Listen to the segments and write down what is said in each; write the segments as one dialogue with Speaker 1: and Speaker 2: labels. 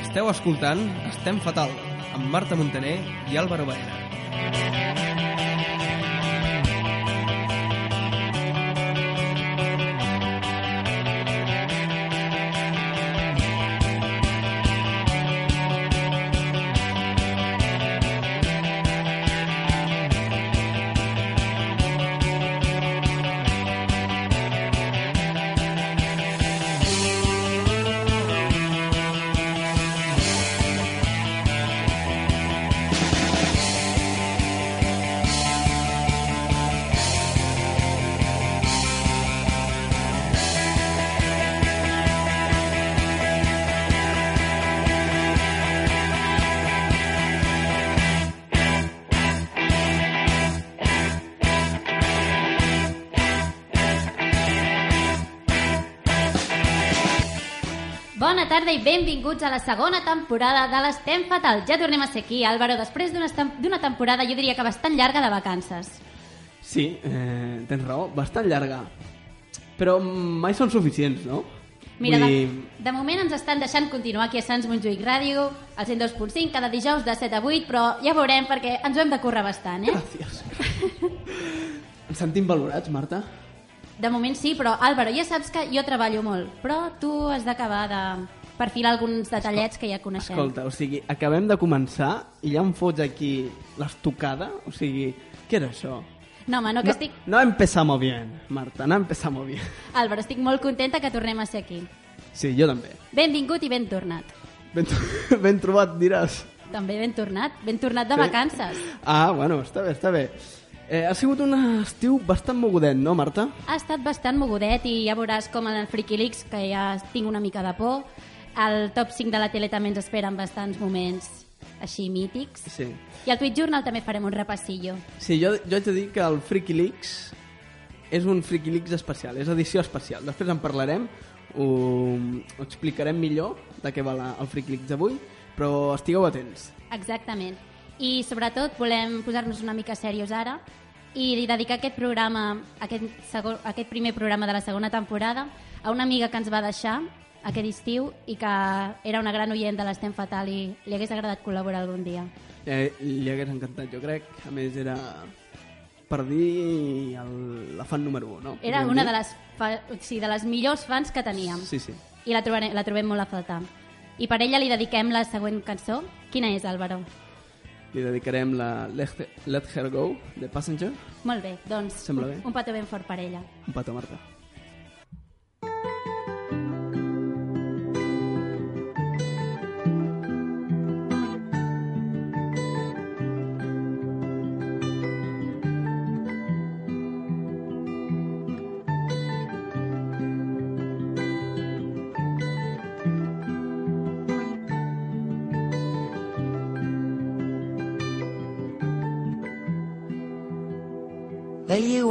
Speaker 1: Esteu escoltant Estem Fatal, amb Marta Montaner i Álvaro Baena.
Speaker 2: Bona tarda i benvinguts a la segona temporada de l'Estem Fatal. Ja tornem a ser aquí, Álvaro, després d'una estem- d'una temporada, jo diria que bastant llarga de vacances.
Speaker 3: Sí, eh, tens raó, bastant llarga. Però mai són suficients, no?
Speaker 2: Mira,
Speaker 3: Vull
Speaker 2: de,
Speaker 3: dir,
Speaker 2: de moment ens estan deixant continuar aquí a Sants Montjuïc Ràdio, al 102.5, cada dijous de 7 a 8, però ja veurem perquè ens ho hem de córrer bastant, eh?
Speaker 3: Gràcies. Ens sentim valorats, Marta?
Speaker 2: De moment sí, però Álvaro, ja saps que jo treballo molt, però tu has d'acabar de perfilar alguns detallets que ja coneixem.
Speaker 3: Escolta, o sigui, acabem de començar i ja em fots aquí l'estocada? O sigui, què era això?
Speaker 2: No, home, no, que estic...
Speaker 3: no empezamos bien, Marta, no empezamos bien.
Speaker 2: Álvaro, estic molt contenta que tornem a ser aquí.
Speaker 3: Sí, jo també.
Speaker 2: Benvingut i ben tornat.
Speaker 3: Ben, tro- ben trobat, diràs.
Speaker 2: També ben tornat, ben tornat de
Speaker 3: Sí.
Speaker 2: vacances.
Speaker 3: Ah, bueno, està bé, està bé. Eh, ha sigut un estiu bastant mogudet, no, Marta?
Speaker 2: Ha estat bastant mogudet i ja veuràs com en el Friki Leaks, que ja tinc una mica de por, el top 5 de la tele també ens esperen bastants moments així mítics.
Speaker 3: Sí.
Speaker 2: I al Twitch Journal també farem un repassillo.
Speaker 3: Sí, jo, jo haig de dir que el Freaky Leaks és un Freaky Leaks especial, és edició especial. Després en parlarem, ho, ho explicarem millor de què va la, el Freaky Leaks d'avui, però estigueu atents.
Speaker 2: Exactament. I sobretot volem posar-nos una mica serios ara i dedicar aquest programa, aquest, segon, aquest primer programa de la segona temporada a una amiga que ens va deixar aquest estiu i que era una gran oient de l'Estem Fatal i li hagués agradat col·laborar algun dia.
Speaker 3: Eh, li hagués encantat, jo crec. A més, era per dir el- la fan número 1, no?
Speaker 2: Era
Speaker 3: Podríem
Speaker 2: una
Speaker 3: dir?
Speaker 2: de les, fa- o sigui, de les millors fans que teníem
Speaker 3: Sí, sí.
Speaker 2: i la, trobarem, la trobem molt a faltar. I per ella li dediquem la següent cançó. Quina és, Álvaro?
Speaker 3: Li dedicarem la Let Her, Let Her Go, de Passenger.
Speaker 2: Molt bé, doncs
Speaker 3: Sembla
Speaker 2: un,
Speaker 3: bé.
Speaker 2: un petó ben fort per ella.
Speaker 3: Un petó, Marta.
Speaker 4: Well, you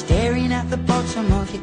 Speaker 4: Staring at the bottom of your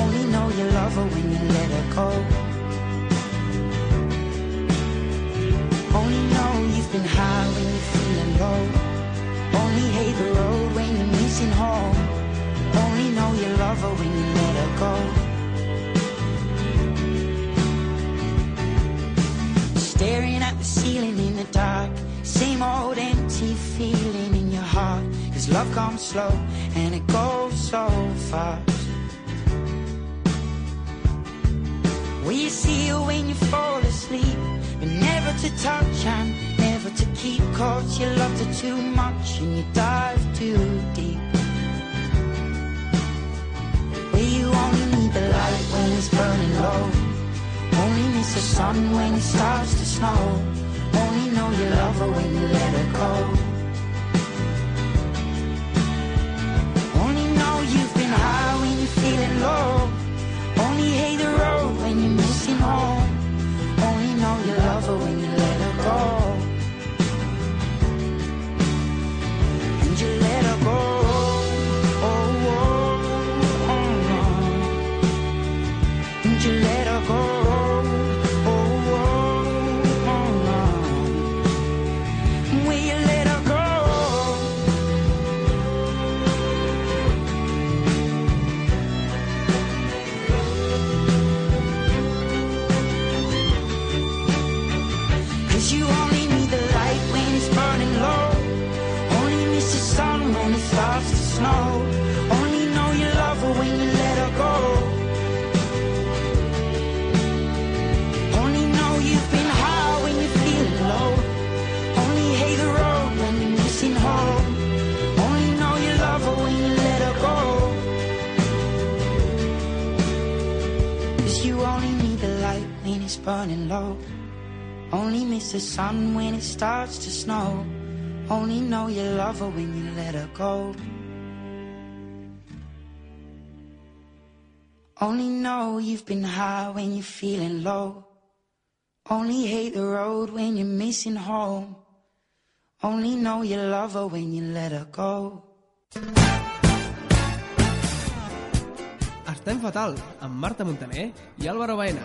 Speaker 4: Only know you love her when you let her go. Only know you've been high when you're feeling low. Only hate the road when you're missing home. Only know you love her when you let her go. Staring at the ceiling in the dark. Same old empty feeling in your heart. Cause love comes slow and it goes so fast. We see you when you fall asleep, but never to touch and never to keep. Cause you loved her too much and you dive too deep. We only need the light when it's burning low. Only miss the sun when it starts to snow. Only know you love her when you let her go. Only know you've been high when you're feeling low. Only hate the road when you're missing home. Only know you love her when you let her go. And you let her go. Oh, oh, oh, oh. And you let her go. Oh, oh, oh, oh. Will you let her go? Cause you only need the light when it's burning low. Only miss the sun when it starts to snow. Only know you love her when you let her go. Only know you've been high when you're feeling low. Only hate the road when you're missing home. Only know you love her when you let her go. Cause you only need the light when it's burning low. Only miss the sun when it starts to snow. Only know you love her when you let her go. Only know you've been high when you're feeling low. Only hate the road when you're missing home. Only know you love her when you let her go.
Speaker 1: Estem fatal amb Marta Montaner i Álvaro Baena.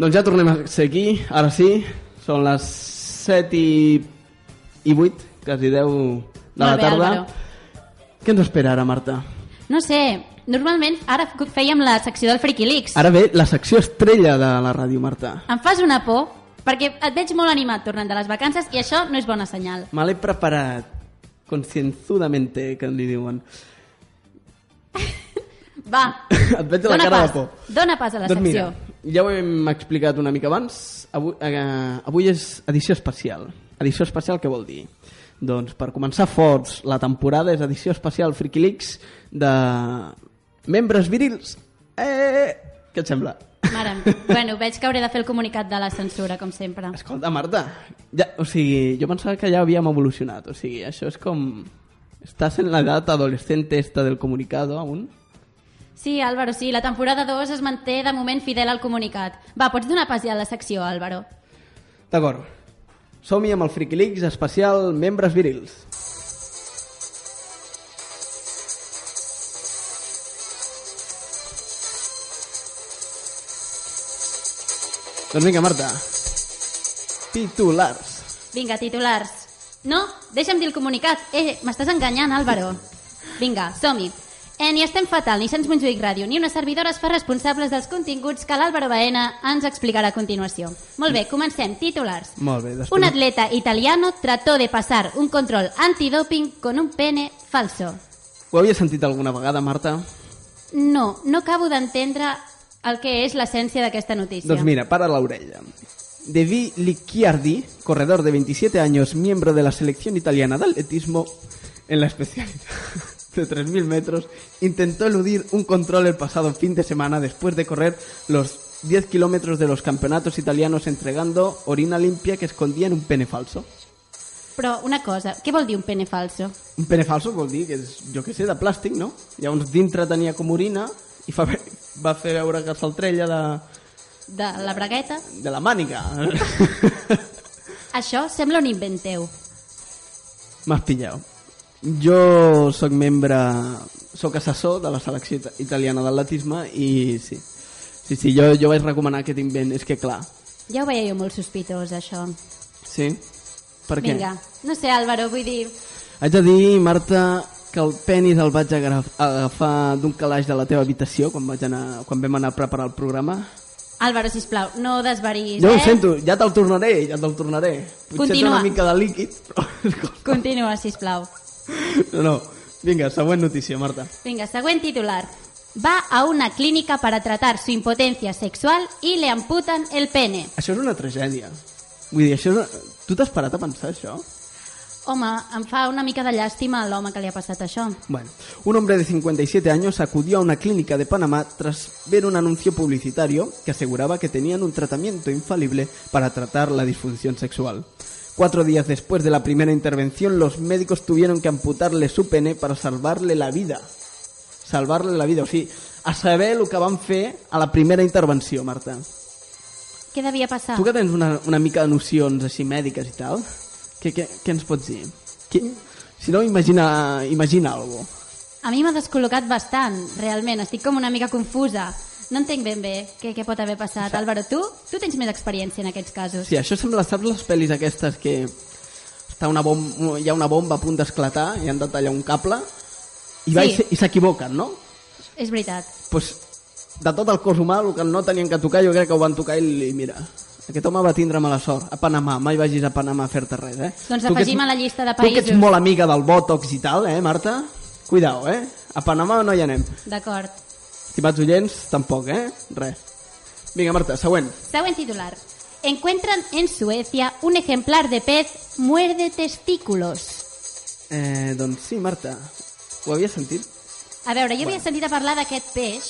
Speaker 3: Doncs ja tornem a ser aquí, ara sí, són les 7 i, i 8, quasi 10 de la
Speaker 2: Molt bé,
Speaker 3: tarda.
Speaker 2: Álvaro.
Speaker 3: Què ens espera ara, Marta?
Speaker 2: No sé, normalment ara fèiem la secció del Freaky Leaks.
Speaker 3: Ara ve la secció estrella de la ràdio, Marta.
Speaker 2: Em fas una por perquè et veig molt animat tornant de les vacances i això no és bona senyal.
Speaker 3: Me l'he preparat concienzudamente, que li diuen.
Speaker 2: Va,
Speaker 3: Et veig a la
Speaker 2: dona
Speaker 3: cara
Speaker 2: pas,
Speaker 3: de por.
Speaker 2: dona pas a la
Speaker 3: doncs
Speaker 2: secció.
Speaker 3: Mira, ja ho hem explicat una mica abans. Avui, eh, avui és edició especial. Edició especial què vol dir? Doncs per començar forts la temporada és edició especial Friki Leaks de membres virils. Eh, què et sembla?
Speaker 2: Mare, meva. bueno, veig que hauré de fer el comunicat de la censura, com sempre.
Speaker 3: Escolta, Marta, ja, o sigui, jo pensava que ja havíem evolucionat. O sigui, això és com... Estàs en l'edat adolescente esta del comunicado aún?
Speaker 2: Sí, Álvaro, sí, la temporada 2 es manté de moment fidel al comunicat. Va, pots donar pas ja a la secció, Álvaro.
Speaker 3: D'acord. Som-hi amb el Friki Leaks especial membres virils. Doncs vinga, Marta. Titulars.
Speaker 2: Vinga, titulars. No, deixa'm dir el comunicat. Eh, m'estàs enganyant, Álvaro. Vinga, som-hi. Eh, ni estem fatal, ni Sants Montjuïc Ràdio, ni una servidora es fa responsables dels continguts que l'Àlvaro Baena ens explicarà a continuació. Molt bé, comencem. Titulars.
Speaker 3: Molt bé, després...
Speaker 2: Un atleta italiano trató de pasar un control antidoping con un pene falso.
Speaker 3: Ho havia sentit alguna vegada, Marta?
Speaker 2: No, no acabo d'entendre el que és l'essència d'aquesta notícia.
Speaker 3: Doncs mira, para la orella. Devi Licciardi, corredor de 27 años, miembro de la selección italiana de atletismo en la especialidad de 3.000 metros, intentó eludir un control el pasado fin de semana después de correr los 10 kilómetros de los campeonatos italianos entregando orina limpia que escondía en un pene falso.
Speaker 2: Però una cosa, què vol dir un pene falso?
Speaker 3: Un pene falso vol dir que és, jo què sé, de plàstic, no? Llavors dintre tenia com orina i fa, va fer veure que se'l treia de,
Speaker 2: De la bragueta?
Speaker 3: de la màniga.
Speaker 2: Això sembla un invent teu.
Speaker 3: M'has pillat. Jo sóc membre, sóc assessor de la selecció ita- italiana d'atletisme i sí, sí, sí jo, jo vaig recomanar aquest invent, és que clar,
Speaker 2: Ja ho veia jo molt sospitós, això.
Speaker 3: sí, per què?
Speaker 2: Vinga, no sé, Álvaro, vull dir...
Speaker 3: Haig de dir, Marta, que el penis el vaig agraf- agafar d'un calaix de la teva habitació quan, vaig anar, quan vam anar a preparar el programa
Speaker 2: Álvaro, sisplau, no desvaris,
Speaker 3: Jo
Speaker 2: eh?
Speaker 3: ho sento, ja te'l tornaré, ja te'l tornaré. Potser
Speaker 2: Continua.
Speaker 3: té una mica de líquid, però...
Speaker 2: Continua, sisplau.
Speaker 3: No, no. Vinga, següent notícia, Marta.
Speaker 2: Venga, següent titular. Va a una clínica para tratar su impotencia sexual y le amputan el pene.
Speaker 3: Això és una tragèdia. Vull dir, això és una... Tu t'has parat a pensar això?
Speaker 2: Home, em fa una mica de llàstima a l'home que li ha passat això.
Speaker 3: Bueno, un hombre de 57 años acudió a una clínica de Panamá tras ver un anuncio publicitario que aseguraba que tenían un tratamiento infalible para tratar la disfunción sexual. Cuatro días después de la primera intervención, los médicos tuvieron que amputarle su pene para salvarle la vida. Salvarle la vida, o sigui, a saber el que van fer a la primera intervenció, Marta.
Speaker 2: Què devia passar?
Speaker 3: Tu que tens una, una mica de nocions així mèdiques i tal, què, què, què ens pots dir? Qui, si no, imagina, imagina alguna cosa.
Speaker 2: A mi m'ha descol·locat bastant, realment. Estic com una mica confusa. No entenc ben bé què, què pot haver passat. Álvaro, tu, tu tens més experiència en aquests casos.
Speaker 3: Sí, això sembla, saps les pel·lis aquestes que està una bom hi ha una bomba a punt d'esclatar i han de tallar un cable i va
Speaker 2: Sí.
Speaker 3: i se- i s'equivoquen, no?
Speaker 2: És veritat.
Speaker 3: Pues, de tot el cos humà, el que no tenien que tocar, jo crec que ho van tocar i, li- mira, aquest home va tindre mala sort. A Panamà, mai vagis a Panamà a fer-te res, eh?
Speaker 2: Doncs
Speaker 3: Tu que ets-
Speaker 2: afegim a la llista de
Speaker 3: Tu que ets
Speaker 2: països.
Speaker 3: molt amiga del Botox i tal, eh, Marta? Cuidao, eh? A Panamà no hi anem.
Speaker 2: D'acord.
Speaker 3: Estimats oients, tampoc, eh? Res. Vinga, Marta, següent.
Speaker 2: Següent titular. Encuentran en Suecia un ejemplar de pez muerde testículos.
Speaker 3: Eh, doncs sí, Marta, ho havia sentit?
Speaker 2: A veure, jo havia sentit a parlar d'aquest peix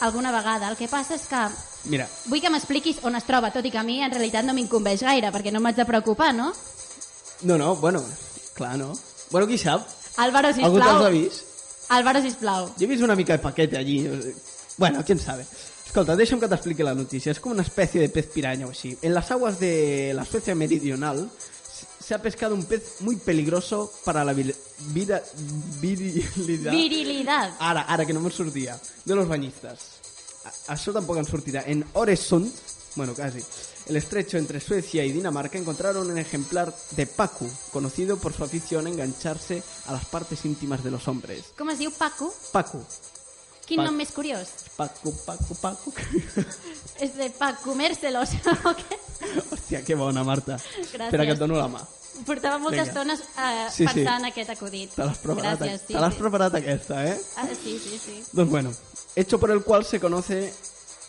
Speaker 2: alguna vegada. El que passa és que
Speaker 3: Mira,
Speaker 2: vull que m'expliquis on es troba, tot i que a mi en realitat no m'incumbeix gaire, perquè no m'haig de preocupar, no?
Speaker 3: No, no, bueno, clar, no. Bueno, qui sap?
Speaker 2: Álvaro,
Speaker 3: Algú te'ls
Speaker 2: sisplau.
Speaker 3: ha vist?
Speaker 2: Álvaro, sisplau.
Speaker 3: Jo he vist una mica de paquete allí. o sigui, Bueno, quién sabe. Escolta, deixa'm que t'expliqui la notícia. Es como una especie de pez piraña o así. En las aguas de la Suecia meridional se- se ha pescado un pez muy peligroso para la vil- vira- virilidad...
Speaker 2: Virilidad.
Speaker 3: Ara, ara, que no me'n sortia. De los bañistas. A- Això tampoc en sortirà. En Oresund, bueno, casi, el estrecho entre Suecia y Dinamarca encontraron un ejemplar de Pacu, conocido por su afición a engancharse a las partes íntimas de los hombres.
Speaker 2: Com es diu Paco?
Speaker 3: Pacu.
Speaker 2: Quin
Speaker 3: Paco.
Speaker 2: nom més curiós?
Speaker 3: Pacu, Pacu, Pacu.
Speaker 2: És de pa comer-se-los. o què?
Speaker 3: Hòstia, que bona, Marta. Espera que et dono la mà.
Speaker 2: Portava moltes
Speaker 3: Vinga.
Speaker 2: estones eh,
Speaker 3: Sí, sí.
Speaker 2: pensant aquest acudit.
Speaker 3: Te l'has preparat,
Speaker 2: Gràcies, sí.
Speaker 3: te l'has
Speaker 2: sí.
Speaker 3: preparat aquesta, eh?
Speaker 2: Ah, sí, sí, sí.
Speaker 3: Pues bueno, hecho por el cual se conoce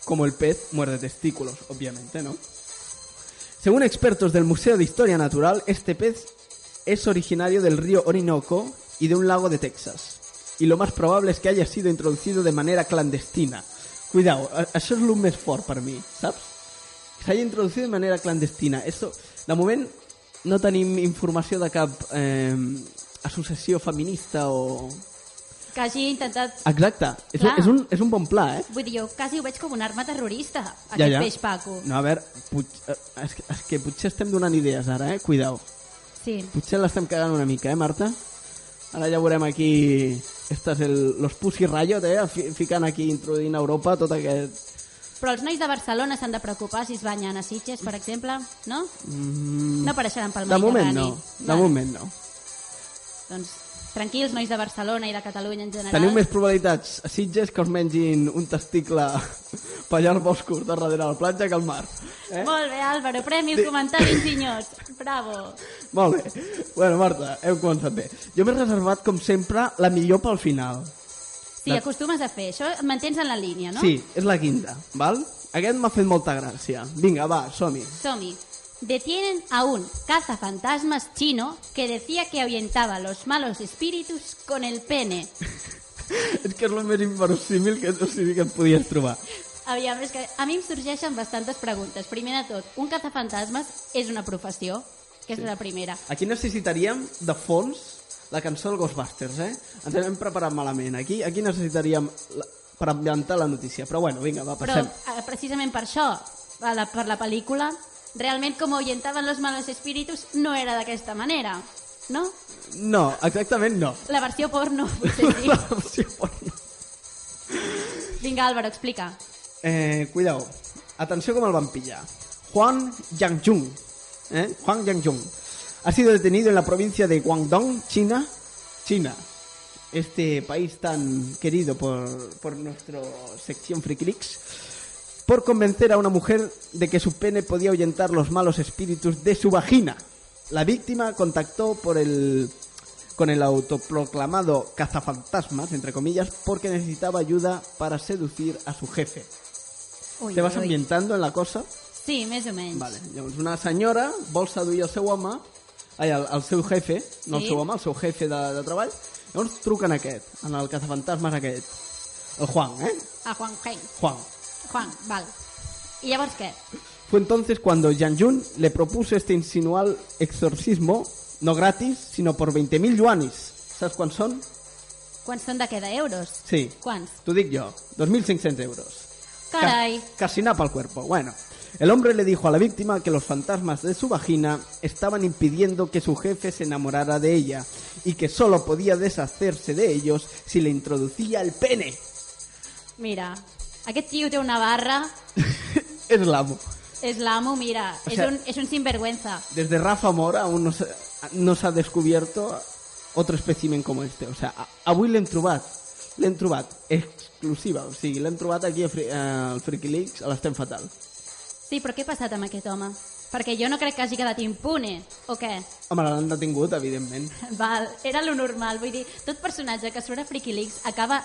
Speaker 3: como el pez muerde testículos, obviamente, ¿no? Según expertos del Museo de Historia Natural, este pez es originario del río Orinoco y de un lago de Texas. Y lo más probable es que haya sido introducido de manera clandestina. Cuidado, a- això és el més fort per mi, saps? Que s'hagi introducido de manera clandestina. Esto, de moment no tenim informació de cap eh, associació feminista o...
Speaker 2: Que hagi intentat...
Speaker 3: Ah. Exacte, és,
Speaker 2: Clar.
Speaker 3: és, un, és un bon pla, eh?
Speaker 2: Vull dir, jo quasi ho veig com una arma terrorista, aquest peix Paco.
Speaker 3: No, a veure, pot, eh, és, que, és que potser estem donant idees ara, eh? Cuidao.
Speaker 2: Sí.
Speaker 3: Potser l'estem cagant una mica, eh, Marta? Ara ja veurem aquí... Estàs el, los Pussy Riot, eh? Fi- Ficant aquí, introduint a Europa tot aquest...
Speaker 2: Però els nois de Barcelona s'han de preocupar si es banyen a Sitges, per exemple, no? Mm. No apareixeran pel
Speaker 3: De moment no,
Speaker 2: Mediterrani.
Speaker 3: de
Speaker 2: Vale.
Speaker 3: moment no.
Speaker 2: Doncs tranquils, nois de Barcelona i de Catalunya en general.
Speaker 3: Teniu més probabilitats a Sitges que us mengin un testicle per allà als boscos de darrere la platja que al mar. Eh?
Speaker 2: Molt bé, Álvaro, premi un comentari enginyós. Bravo.
Speaker 3: Molt bé. Bueno, Marta, hem començat bé. Jo m'he reservat, com sempre, la millor pel final.
Speaker 2: Sí,
Speaker 3: La-
Speaker 2: acostumes a fer això, et mantens en la línia, no?
Speaker 3: Sí, és la guinda, val? Aquest m'ha fet molta gràcia. Vinga, va, som-hi.
Speaker 2: Somi. Detienen a un cazafantasmas chino que decía que ahuyentaba los malos espíritus con el pene.
Speaker 3: és que és el més inverosímil que, o sigui, que et podies trobar.
Speaker 2: Aviam, és que a mi em sorgeixen bastantes preguntes. Primer de tot, un cazafantasmes és una professió? Que és la primera.
Speaker 3: Aquí necessitaríem, de fons, la cançó del Ghostbusters, eh? Ens hem preparat malament. Aquí aquí necessitaríem la, per ambientar la notícia. Però bueno, vinga, va,
Speaker 2: Però
Speaker 3: passem.
Speaker 2: eh, precisament per això, a la, per la pel·lícula, realment com ahuyentaven los malos espíritus no era d'aquesta manera, no?
Speaker 3: No, exactament no.
Speaker 2: La versió porno, potser sí.
Speaker 3: La versió porno.
Speaker 2: Vinga, Álvaro, explica.
Speaker 3: Eh, cuidao. Atenció com el van pillar. Juan Yangjung. ¿eh? Juan Yangjung. Ha sido detenido en la provincia de Guangdong, China. China. Este país tan querido por, por nuestra sección Freaky Leaks. por convencer a una mujer de que su pene podía ahuyentar los malos espíritus de su vagina. La víctima contactó por el con el autoproclamado cazafantasmas, entre comillas, porque necesitaba ayuda para seducir a su jefe.
Speaker 2: Ui,
Speaker 3: Te vas
Speaker 2: ui, ui.
Speaker 3: ambientando en la cosa?
Speaker 2: Sí, més o menys.
Speaker 3: Vale. Llavors, una senyora vol seduir el seu home, ai, el, el seu jefe, no el
Speaker 2: Sí.
Speaker 3: seu home, el seu jefe de, de treball. Llavors truquen a aquest, en el cazafantasmes aquest. El Juan, eh?
Speaker 2: A Juan Juan.
Speaker 3: Juan.
Speaker 2: Juan, val. I llavors què?
Speaker 3: Fue entonces cuando Yang Jun le propuso este insinual exorcismo, no gratis, sino por 20.000 yuanis. ¿Sabes cuántos son?
Speaker 2: Quants són de què? D'euros?
Speaker 3: Sí.
Speaker 2: Quants?
Speaker 3: T'ho dic jo, 2.500 euros.
Speaker 2: Carai.
Speaker 3: Ca- Casi napa al cuerpo. Bueno, el hombre le dijo a la víctima que los fantasmas de su vagina estaban impidiendo que su jefe se enamorara de ella y que solo podía deshacerse de ellos si le introducía el pene.
Speaker 2: Mira, aquest tio té una barra,
Speaker 3: Es el amo.
Speaker 2: és l'amo, mira,
Speaker 3: O
Speaker 2: és,
Speaker 3: sea-
Speaker 2: un, és un sinvergüenza.
Speaker 3: Desde Rafa Mora aún no se, no se ha descubierto otro espécimen como este. O sea, a- avui l'hem trobat. L'hem trobat. Exclusiva. O sigui, l'hem trobat aquí a Fri- eh, al Freaky Leaks, a l'Estem Fatal.
Speaker 2: Sí, però què ha passat amb aquest home? Perquè jo no crec que hagi quedat impune, o què?
Speaker 3: Home, l'han detingut, evidentment.
Speaker 2: Val, era lo normal, vull dir, tot personatge que surt a Freaky Leaks acaba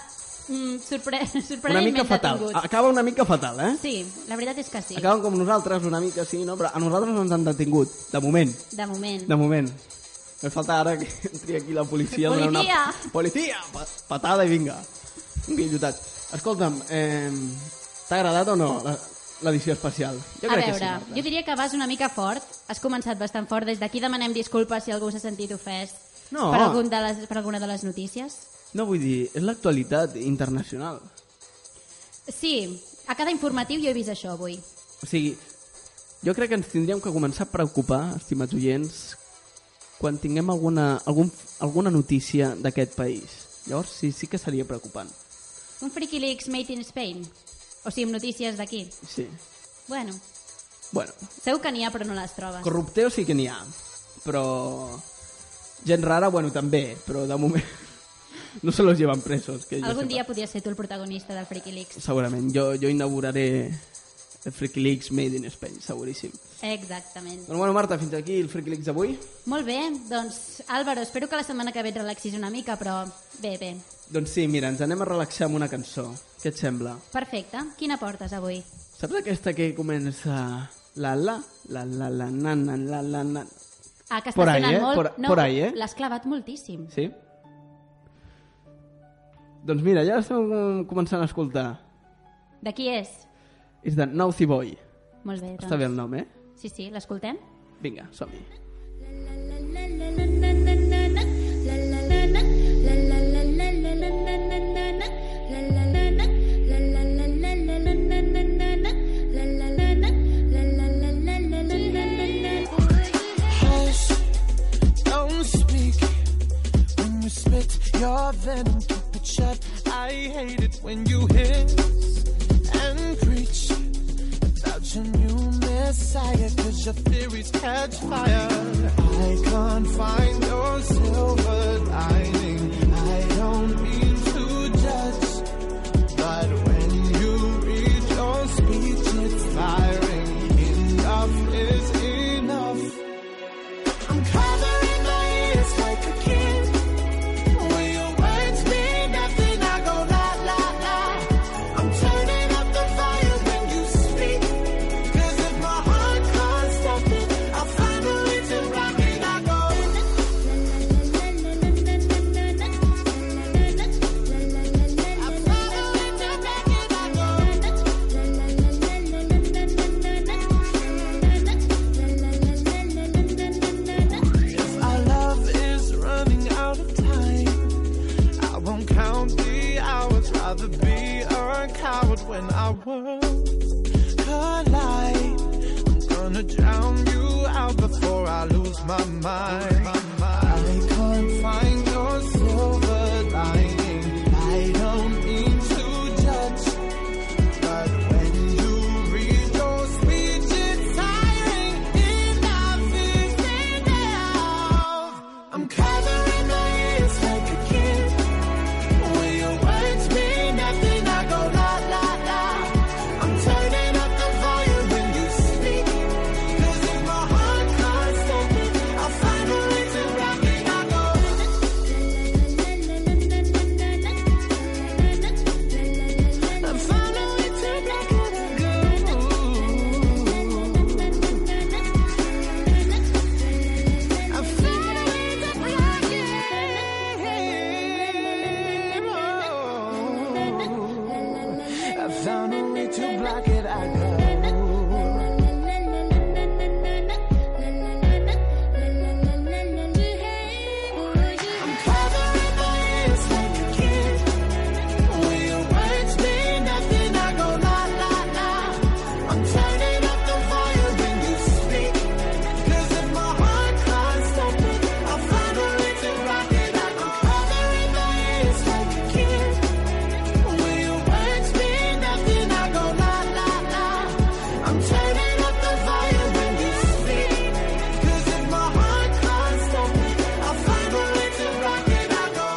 Speaker 2: mm, sorpre
Speaker 3: Una mica
Speaker 2: sorprenentment
Speaker 3: fatal. Ah.
Speaker 2: detingut.
Speaker 3: Acaba una mica fatal, eh?
Speaker 2: Sí, la veritat és que sí,
Speaker 3: Acaben com nosaltres, una mica, sí, no? Però a nosaltres no ens han detingut, de moment.
Speaker 2: de moment.
Speaker 3: De moment. Me falta ara que entri aquí la policia. a donar
Speaker 2: Policia!
Speaker 3: Una... Policia! Pa- Patada i vinga. Un guillotat. Escolta'm, eh, t'ha agradat o no la- l'edició especial?
Speaker 2: a veure,
Speaker 3: Marta.
Speaker 2: jo diria que vas una mica fort, has començat bastant fort, des d'aquí demanem disculpes si algú s'ha sentit ofès
Speaker 3: No.
Speaker 2: per, algun de les, per alguna de les notícies.
Speaker 3: No vull dir, és l'actualitat internacional.
Speaker 2: Sí, a cada informatiu jo he vist això avui.
Speaker 3: O sigui, jo crec que ens tindríem que començar a preocupar, estimats oients, quan tinguem alguna, algun, alguna notícia d'aquest país. Llavors sí, sí que seria preocupant.
Speaker 2: Un Freaky Leaks made in Spain. O sigui, amb notícies d'aquí.
Speaker 3: Sí.
Speaker 2: Bueno,
Speaker 3: Bueno,
Speaker 2: segur que n'hi ha però no les trobes.
Speaker 3: corrupteo sí que n'hi ha, però gent rara, bueno, també, però de moment no se los llevan presos. Que jo
Speaker 2: Algun
Speaker 3: sepa.
Speaker 2: dia podries ser tu el protagonista del Freaky Leaks.
Speaker 3: Segurament, jo, jo inauguraré el Freaky Leaks Made in Spain, seguríssim.
Speaker 2: Exactament.
Speaker 3: Doncs bueno, Marta, fins aquí el Freaky Leaks d'avui.
Speaker 2: Molt bé, doncs, Álvaro, espero que la setmana que ve et relaxis una mica, però bé, bé.
Speaker 3: Doncs sí, mira, ens anem a relaxar amb una cançó. Què et sembla?
Speaker 2: Perfecte. Quina portes avui?
Speaker 3: Saps aquesta que comença... La la, la la la na na la la na...
Speaker 2: Ah, que està
Speaker 3: Por ahí,
Speaker 2: sonant
Speaker 3: eh?
Speaker 2: molt...
Speaker 3: Por-
Speaker 2: no,
Speaker 3: por ahí, eh?
Speaker 2: l'has clavat moltíssim.
Speaker 3: Sí? Doncs mira, ja l'estem com- començant a escoltar.
Speaker 2: De qui és?
Speaker 3: És de Naughty Boy.
Speaker 2: Molt bé, doncs.
Speaker 3: Està bé el nom, eh?
Speaker 2: Sí, sí, l'escoltem?
Speaker 3: Vinga, som-hi.
Speaker 5: Hush, don't speak when you spit your venom. Keep it shut. I hate it when you hiss and preach about your new messiah. Cause your theories catch fire. I can't find your silver lining. I don't mean to judge, but when you read your speech, it's firing. Enough is enough. I'm covering my ears like a kid. When your words mean nothing, I go la la la. I'm turning up the volume when you speak. 'Cause if my heart can't stop it, I'll find a way to rock it. I go. I find a way to rock it. I go. Our love is running out of time. I won't count the hours, rather be a coward when our worlds collide. I'm gonna drown you out before I lose my mind. I can't find your silver lining. I don't mean to judge. But when you read your speech, it's tiring. Enough is enough. I'm covering my ears like a kid. When your words mean nothing, I go la la la. I'm turning
Speaker 6: I found a way to block it. I know. I'm covering my ears like a kid. When your words mean nothing, I go la la la. I'm turning up the volume when you speak. 'Cause if my heart cries something, I'll find a way to rock it. I'm covering my ears like a kid. When your words mean nothing, I go la la la. I'm turning up the volume when you speak. 'Cause if my heart cries something, I'll find a way to rock it. I go.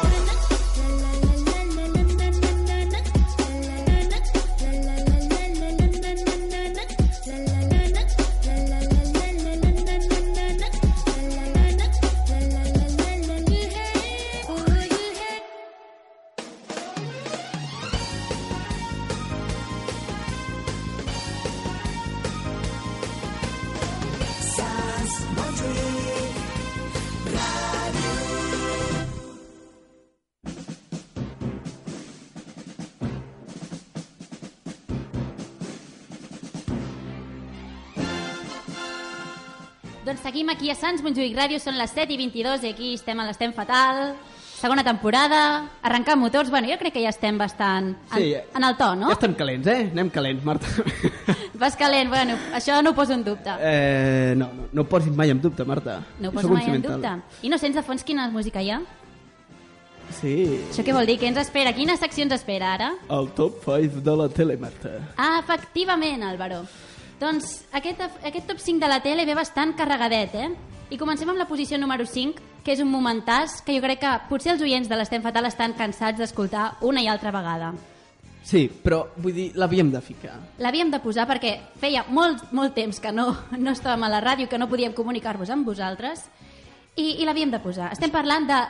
Speaker 2: Doncs seguim aquí a Sants Montjuïc Ràdio, són les 7 i 22 i aquí estem a l'Estem Fatal, segona temporada, arrencar motors, bueno, jo crec que ja estem bastant en,
Speaker 3: Sí, ja-
Speaker 2: en el to, no?
Speaker 3: Ja estem calents, eh? Anem calents, Marta.
Speaker 2: Vas calent, bueno, això no ho poso en dubte.
Speaker 3: Eh, no, no, no ho posis mai en dubte, Marta.
Speaker 2: No ho
Speaker 3: Sóc
Speaker 2: poso
Speaker 3: un
Speaker 2: mai en
Speaker 3: sentimental.
Speaker 2: dubte. I no sents de fons quina música hi ha?
Speaker 3: Sí,
Speaker 2: Això què vol dir? Què ens espera? Quina secció ens espera ara?
Speaker 3: el top 5 de la tele, Marta.
Speaker 2: Ah, efectivament, Álvaro. Doncs aquest, aquest top 5 de la tele ve bastant carregadet, eh? I comencem amb la posició número 5, que és un momentàs que jo crec que potser els oients de l'Estem Fatal estan cansats d'escoltar una i altra vegada.
Speaker 3: Sí, però vull dir, l'havíem de ficar.
Speaker 2: L'havíem de posar perquè feia molt, molt temps que no, no estàvem a la ràdio, que no podíem comunicar-vos amb vosaltres, i, i l'havíem de posar. Estem parlant de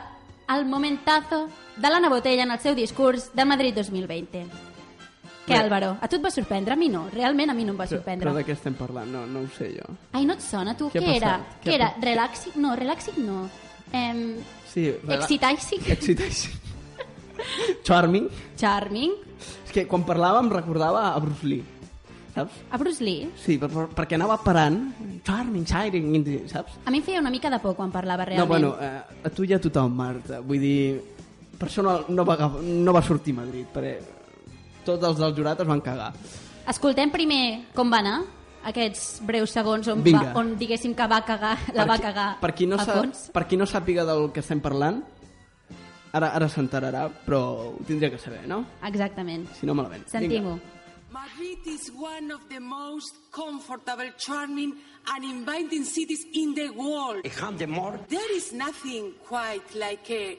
Speaker 2: El momentazo de l'Anna Botella en el seu discurs de Madrid 2020. Què,
Speaker 3: Bé.
Speaker 2: Álvaro? A tu et va sorprendre? A mi no. Realment a mi no em va sorprendre.
Speaker 3: Però de què estem parlant? No, no ho sé jo.
Speaker 2: Ai, no et sona, tu?
Speaker 3: Què
Speaker 2: Què,
Speaker 3: ha
Speaker 2: era?
Speaker 3: passat? Què
Speaker 2: Què
Speaker 3: ha
Speaker 2: era?
Speaker 3: passat?
Speaker 2: Relaxic? No, relaxic no. Em...
Speaker 3: Sí, rela-
Speaker 2: Excitàxic?
Speaker 3: Excitàxic. Charming.
Speaker 2: Charming?
Speaker 3: És que quan parlava em recordava a Bruce Lee, saps?
Speaker 2: A Bruce Lee?
Speaker 3: Sí, per, per, perquè anava parant. Charming, shining, saps?
Speaker 2: A mi em feia una mica de por quan parlava realment.
Speaker 3: No, bueno, eh, a tu ja tothom, Marta. Vull dir, per això no, no, va, agaf- no va sortir a Madrid, perquè tots els del jurat es van cagar.
Speaker 2: Escoltem primer com va anar aquests breus segons on,
Speaker 3: Vinga.
Speaker 2: va, on diguéssim que va cagar, la
Speaker 3: Per
Speaker 2: va
Speaker 3: qui-
Speaker 2: cagar
Speaker 3: per qui no
Speaker 2: a
Speaker 3: sa-
Speaker 2: fons.
Speaker 3: Per qui no sàpiga del que estem parlant, ara, ara s'enterarà, però ho tindria que saber, no?
Speaker 2: Exactament.
Speaker 3: Si no, malament.
Speaker 2: Sentim-ho.
Speaker 5: Madrid is one of the most comfortable, charming, and inviting cities in the world. There is nothing quite like a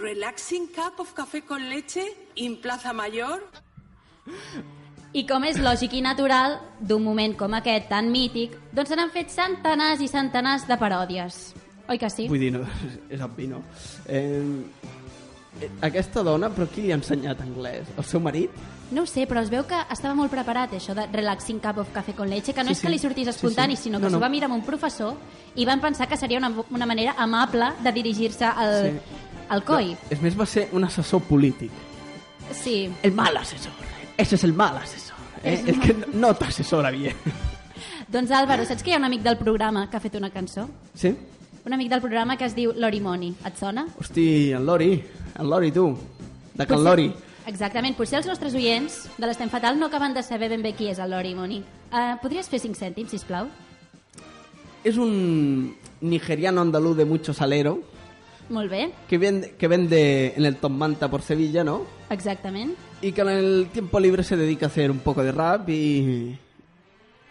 Speaker 5: relaxing cup of café con leche in Plaza Mayor.
Speaker 2: I com és lògic i natural d'un moment com aquest tan mític, doncs se n'han fet centenars i centenars de paròdies. Oi que sí?
Speaker 3: Vull dir, no, és obvi, no? Eh, eh, aquesta dona, però qui li ha ensenyat anglès? El seu marit?
Speaker 2: No ho sé, però es veu que estava molt preparat, això de relaxing cup of café con leche, que no
Speaker 3: Sí,
Speaker 2: és que
Speaker 3: sí.
Speaker 2: li sortís
Speaker 3: Sí, sí.
Speaker 2: espontani, sinó que
Speaker 3: No,
Speaker 2: no,
Speaker 3: no.
Speaker 2: s'ho va mirar amb un professor i van pensar que seria una, una manera amable de dirigir-se al,
Speaker 3: Sí.
Speaker 2: al coi.
Speaker 3: És més, va ser un assessor polític.
Speaker 2: Sí.
Speaker 3: El mal assessor. Ese es el mal assessor. Eh? És que no, no t'assessora bien.
Speaker 2: Doncs Álvaro, saps que hi ha un amic del programa que ha fet una cançó?
Speaker 3: Sí?
Speaker 2: Un amic del programa que es diu Lori Moni. Et sona?
Speaker 3: Hosti, en Lori. En Lori, tu. De Can Lori.
Speaker 2: Exactament. Potser els nostres oients de l'Estem Fatal no acaben de saber ben bé qui és el Lori Moni. Uh, podries fer 5 cèntims, sisplau?
Speaker 3: Es un nigeriano andaluz de mucho salero
Speaker 2: Molt bé.
Speaker 3: que vende, que vende en el Top Manta por Sevilla, ¿no?
Speaker 2: Exactament.
Speaker 3: Y que en el tiempo libre se dedica a hacer un poco de rap y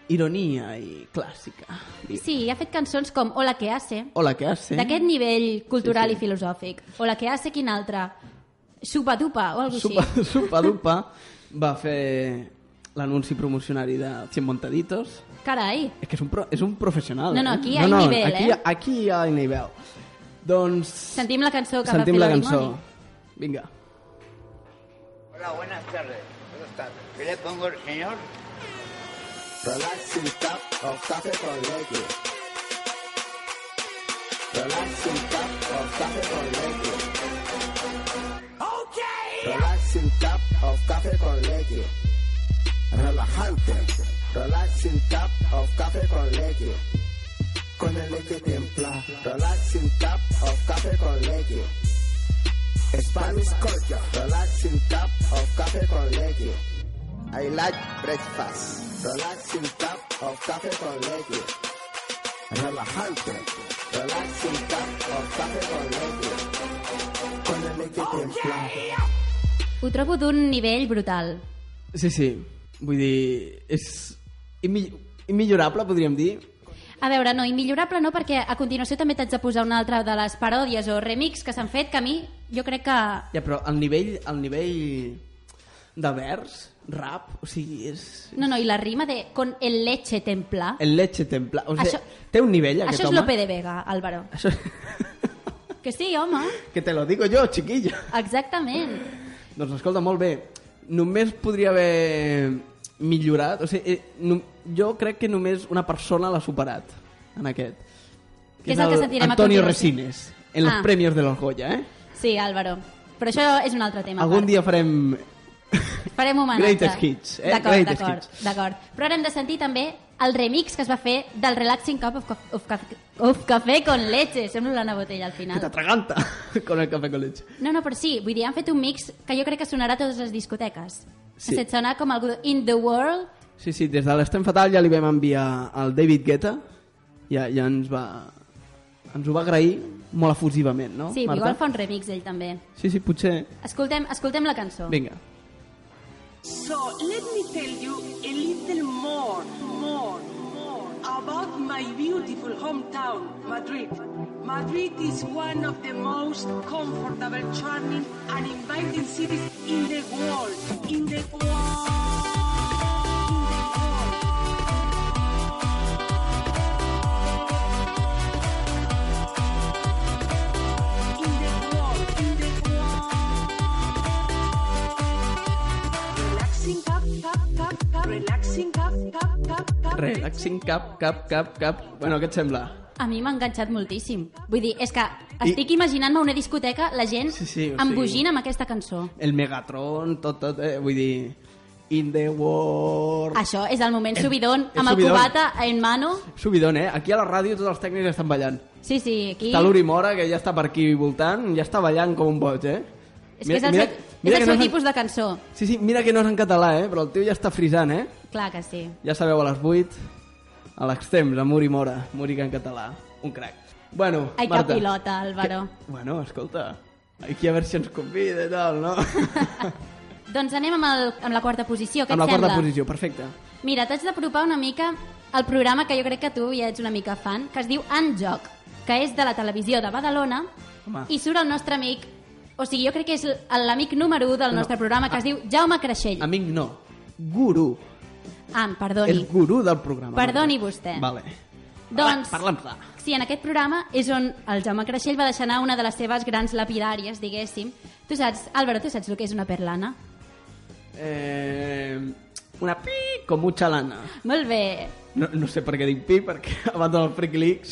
Speaker 3: ironía y clásica. Y-
Speaker 2: Sí, ha fet cançons com Hola, que hace?
Speaker 3: Hola, ¿qué hace?
Speaker 2: D'aquest nivell cultural
Speaker 3: Sí,
Speaker 2: sí,
Speaker 3: sí.
Speaker 2: sí. i filosòfic. Hola, que hace? Quin altre? Supa dupa o alguna
Speaker 3: Supa,
Speaker 2: cosa així.
Speaker 3: supa Dupa va fer l'anunci promocionari de 100 Montaditos.
Speaker 2: Carai.
Speaker 3: És que és un, pro, és un professional.
Speaker 2: No, no,
Speaker 3: eh?
Speaker 2: aquí hi ha nivell,
Speaker 3: aquí,
Speaker 2: eh?
Speaker 3: hi ha- Aquí hi ha nivell. Doncs...
Speaker 2: Sentim la cançó que
Speaker 3: sentim
Speaker 2: va
Speaker 3: la
Speaker 2: fer Lori
Speaker 3: cançó.
Speaker 2: Moni.
Speaker 3: Vinga.
Speaker 7: Hola, buenas tardes. Buenas tardes. ¿Qué le pongo el señor?
Speaker 8: Relaxing cup of café con leche. Relaxing cup of café con leche. Okay. Relaxing cup of café con leche.
Speaker 9: relajante. Relaxing cup of café con leche. Con el leche templa. Relaxing cup of café con leche. Spanish culture. Relaxing cup of café con leche. I like breakfast. Relaxing cup of café con leche. Relajante. Relaxing cup of café con leche. Con el leche templa.
Speaker 2: Ho trobo d'un nivell brutal.
Speaker 3: Sí, sí. Vull dir, és immi- immillorable, podríem dir.
Speaker 2: A veure, no, immillorable no, perquè a continuació també t'haig de posar una altra de les paròdies o remix que s'han fet, que a mi jo crec que...
Speaker 3: Ja, però el nivell, el nivell de vers, rap, o sigui, és...
Speaker 2: No, no, i la rima de con el leche templa.
Speaker 3: El leche templa. O sigui,
Speaker 2: Això-
Speaker 3: té un nivell, aquest
Speaker 2: Això és
Speaker 3: home.
Speaker 2: Lope de Vega, Álvaro.
Speaker 3: Això...
Speaker 2: Que sí, home,
Speaker 3: que te lo digo yo, chiquillo.
Speaker 2: exactament.
Speaker 3: Doncs escolta, molt bé. Només podria haver millorat... O sigui, eh, no, jo crec que només una persona l'ha superat, en aquest.
Speaker 2: Que és el que sentirem a
Speaker 3: Antonio
Speaker 2: continuació.
Speaker 3: Resines, en los
Speaker 2: Ah.
Speaker 3: premios de los Goya, eh?
Speaker 2: Sí, Álvaro. Però això és un altre tema. a
Speaker 3: Algun
Speaker 2: part.
Speaker 3: dia farem...
Speaker 2: Farem homenatge.
Speaker 3: Greatest hits, eh?
Speaker 2: D'acord,
Speaker 3: Greatest
Speaker 2: d'acord,
Speaker 3: hits.
Speaker 2: d'acord. Però ara hem de sentir també el remix que es va fer del Relaxing Cup of, Cof- of, Caf- of Café con Leche. Sembla una botella al
Speaker 3: Que
Speaker 2: final.
Speaker 3: t'atraganta con el café con leche.
Speaker 2: No, no, però sí, vull dir, han fet un mix que jo crec que sonarà a totes les discoteques.
Speaker 3: Sí.
Speaker 2: Sí. Se't sona com algú de In the World,
Speaker 3: Sí, sí, des de l'Estem Fatal ja li vam enviar al David Guetta. Ja, ja ens va... Ens ho va agrair molt efusivament, no,
Speaker 2: sí,
Speaker 3: Marta?
Speaker 2: igual fa un remix ell també.
Speaker 3: Sí, sí, potser.
Speaker 2: Escoltem, escoltem la cançó.
Speaker 3: Vinga.
Speaker 10: So let me tell you a little more, more, more about my beautiful hometown, Madrid. Madrid is one of the most comfortable, charming, and inviting cities in the world. In the world. In the world. In the world. In the world. Relaxing cup, cup, cup, cup. Relaxing cup, cup, cup, cup.
Speaker 3: Relaxing cap, cap, cap, cap. Bueno, què et sembla?
Speaker 2: A mi m'ha enganxat moltíssim. Vull dir, és que estic imaginant-me una discoteca, la gent
Speaker 3: Sí, sí, o sigui-
Speaker 2: embogint amb aquesta cançó.
Speaker 3: El Megatron, tot, tot, eh? vull dir... In the world...
Speaker 2: Això és el moment subidon,
Speaker 3: Eh, és
Speaker 2: amb el
Speaker 3: subidon.
Speaker 2: cubata en mano.
Speaker 3: Subidon, eh? Aquí a la ràdio tots els tècnics estan ballant.
Speaker 2: Sí, sí, aquí...
Speaker 3: Està l'Uri Mora, que ja està per aquí voltant, ja està ballant com un boig, eh?
Speaker 2: És que és el, mira, seu, és el seu tipus de cançó.
Speaker 3: de... Sí, sí, mira que no és en català, eh? Però el tio ja està frisant, eh?
Speaker 2: Clar que sí.
Speaker 3: Ja sabeu, a les 8, a l'extrems, a Muri Mora, Múrica en català, un crac. Bueno,
Speaker 2: Ai, que
Speaker 3: Marta.
Speaker 2: pilota, Álvaro.
Speaker 3: Que... Bueno, escolta, aquí a veure si ens convida i tal, no?
Speaker 2: Doncs anem amb, el, amb la quarta posició, què
Speaker 3: Amb la
Speaker 2: et sembla?
Speaker 3: quarta posició, perfecte.
Speaker 2: Mira, t'haig d'apropar una mica al programa que jo crec que tu ja ets una mica fan, que es diu En Joc, que és de la televisió de Badalona,
Speaker 3: Home.
Speaker 2: i surt el nostre amic, o sigui, jo crec que és l- l'amic número 1 del
Speaker 3: No.
Speaker 2: nostre programa,
Speaker 3: Ah.
Speaker 2: que es diu Jaume Creixell.
Speaker 3: Amic no, guru.
Speaker 2: Ah, em perdoni.
Speaker 3: És gurú del programa.
Speaker 2: Perdoni
Speaker 3: Marta.
Speaker 2: vostè.
Speaker 3: Vale.
Speaker 2: Doncs,
Speaker 3: Parla'm clar.
Speaker 2: sí, en aquest programa és on el Jaume Creixell va deixar anar una de les seves grans lapidàries, diguéssim. Tu saps, Álvaro, tu saps el que és una perlana?
Speaker 3: Eh, una pi com mucha lana.
Speaker 2: Molt bé.
Speaker 3: No, no sé per què dic pi, perquè abans del Freak Leaks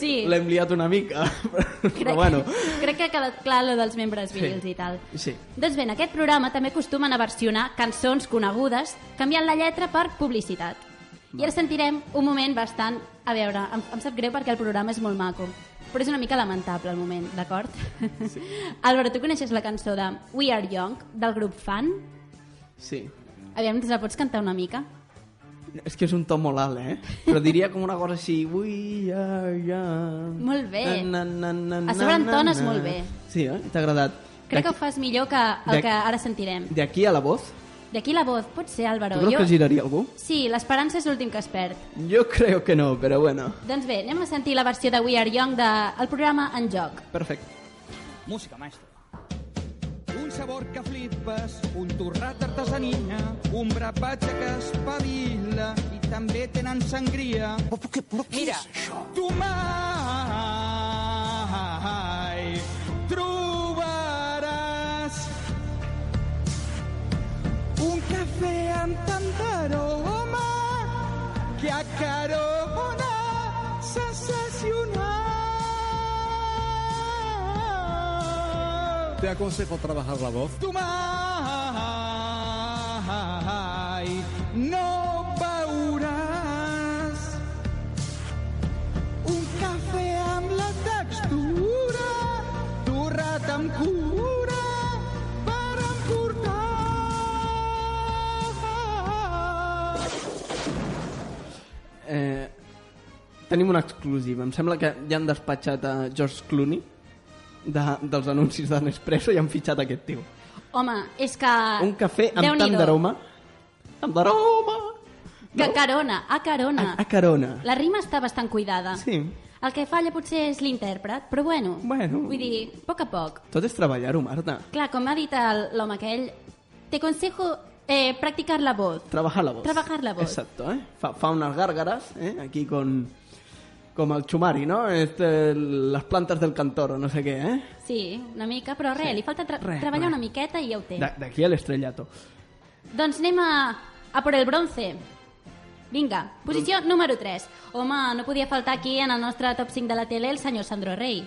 Speaker 2: Sí.
Speaker 3: l'hem liat una mica. Però
Speaker 2: Crec,
Speaker 3: bueno,
Speaker 2: crec que ha quedat clar lo dels membres virils i tal.
Speaker 3: sí.
Speaker 2: Doncs bé, en aquest programa també acostumen a versionar cançons conegudes canviant la lletra per publicitat. I ara sentirem un moment bastant... A veure, em, em sap greu perquè el programa és molt maco, però és una mica lamentable el moment, d'acord? Sí. Álvaro, tu coneixes la cançó de We Are Young, del grup Fan?
Speaker 3: sí.
Speaker 2: Aviam, ens la pots cantar una mica?
Speaker 3: És que és un to molt alt, eh? Però diria com una cosa així... We are young.
Speaker 2: Molt bé.
Speaker 3: Na, na, na, na,
Speaker 2: A sobre
Speaker 3: na,
Speaker 2: entones
Speaker 3: na.
Speaker 2: molt bé.
Speaker 3: Sí, eh? T'ha agradat.
Speaker 2: Crec que ho
Speaker 3: D'aquí-
Speaker 2: fas millor que
Speaker 3: D'aquí-
Speaker 2: el que ara sentirem.
Speaker 3: D'aquí a la voz,
Speaker 2: D'aquí la voz, pot ser, Álvaro.
Speaker 3: tu creus que giraria algú?
Speaker 2: Sí, l'esperança és l'últim que es perd.
Speaker 3: Jo creo que no, però bueno.
Speaker 2: Doncs bé, anem a sentir la versió de We Are Young del de... el programa En Joc.
Speaker 3: Perfecte.
Speaker 11: Música, maestro. Un sabor que flipes, un torrat d'artesania, un brapatge que espavila i també tenen sangria. Mira, tu mai trobaràs un cafè amb tant d'aroma que acarona sensacional.
Speaker 12: Te aconsejo trabajar la voz.
Speaker 11: Tu mai no
Speaker 3: Eh, tenim una exclusiva. Em sembla que ja han despatxat a George Clooney de, dels anuncis de Nespresso i han fitxat aquest tio.
Speaker 2: Home, és que...
Speaker 3: Un cafè amb
Speaker 2: Ah, Déu-n'hi-do.
Speaker 3: tant d'aroma. Amb d'aroma!
Speaker 2: Que Carona, a Carona.
Speaker 3: A, a carona.
Speaker 2: La rima està bastant cuidada.
Speaker 3: Ah, Sí.
Speaker 2: El que falla potser és l'intèrpret, però bueno,
Speaker 3: Bueno.
Speaker 2: vull dir, a poc a poc.
Speaker 3: Tot és treballar-ho, Marta.
Speaker 2: Clar, com ha dit el- l'home aquell, te consejo eh, practicar la voz.
Speaker 3: Trabajar la voz.
Speaker 2: Trabajar la voz.
Speaker 3: Exacto, ¿eh? Fa, fa unas gárgaras, ¿eh? Aquí con, como el chumari, ¿no? Este, el- las plantas del cantoro, no sé qué, ¿eh?
Speaker 2: Sí, una mica, però res, li falta tra
Speaker 3: Res,
Speaker 2: treballar
Speaker 3: res.
Speaker 2: una miqueta i ja ho té.
Speaker 3: De, de aquí al estrellato.
Speaker 2: Doncs anem a, a por el bronze. Vinga, posició número 3. Home, no podia faltar aquí en el nostre top 5 de la tele el senyor Sandro Rey.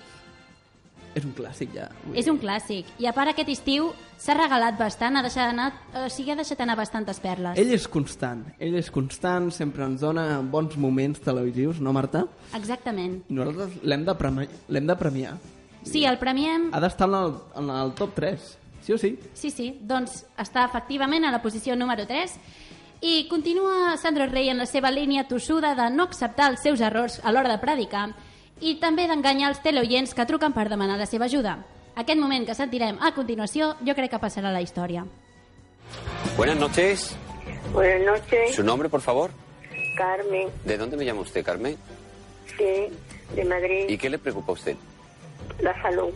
Speaker 3: És un clàssic, ja. Vull
Speaker 2: És
Speaker 3: dir,
Speaker 2: un clàssic. I a part aquest estiu s'ha regalat bastant, ha deixat anar, o sigui, ha deixat anar bastantes perles.
Speaker 3: Ell és constant, ell és constant, sempre ens dona bons moments televisius, no, Marta?
Speaker 2: Exactament.
Speaker 3: I nosaltres l'hem de, premi l'hem de premiar.
Speaker 2: Sí, el premiem...
Speaker 3: Ha d'estar en, el- en el top 3, sí o sí?
Speaker 2: Sí, sí, doncs està efectivament a la posició número 3 i continua Sandro Rey en la seva línia tossuda de no acceptar els seus errors a l'hora de predicar i també d'enganyar els teleoients que truquen per demanar la seva ajuda. Aquest moment que sentirem a continuació jo crec que passarà a la història.
Speaker 12: Buenas noches.
Speaker 13: Buenas noches,
Speaker 12: ¿Su nombre, por favor?
Speaker 13: Carmen,
Speaker 12: ¿De dónde me llama usted, Carmen?
Speaker 13: sí, de Madrid,
Speaker 12: ¿Y qué le preocupa a usted?
Speaker 13: la salud.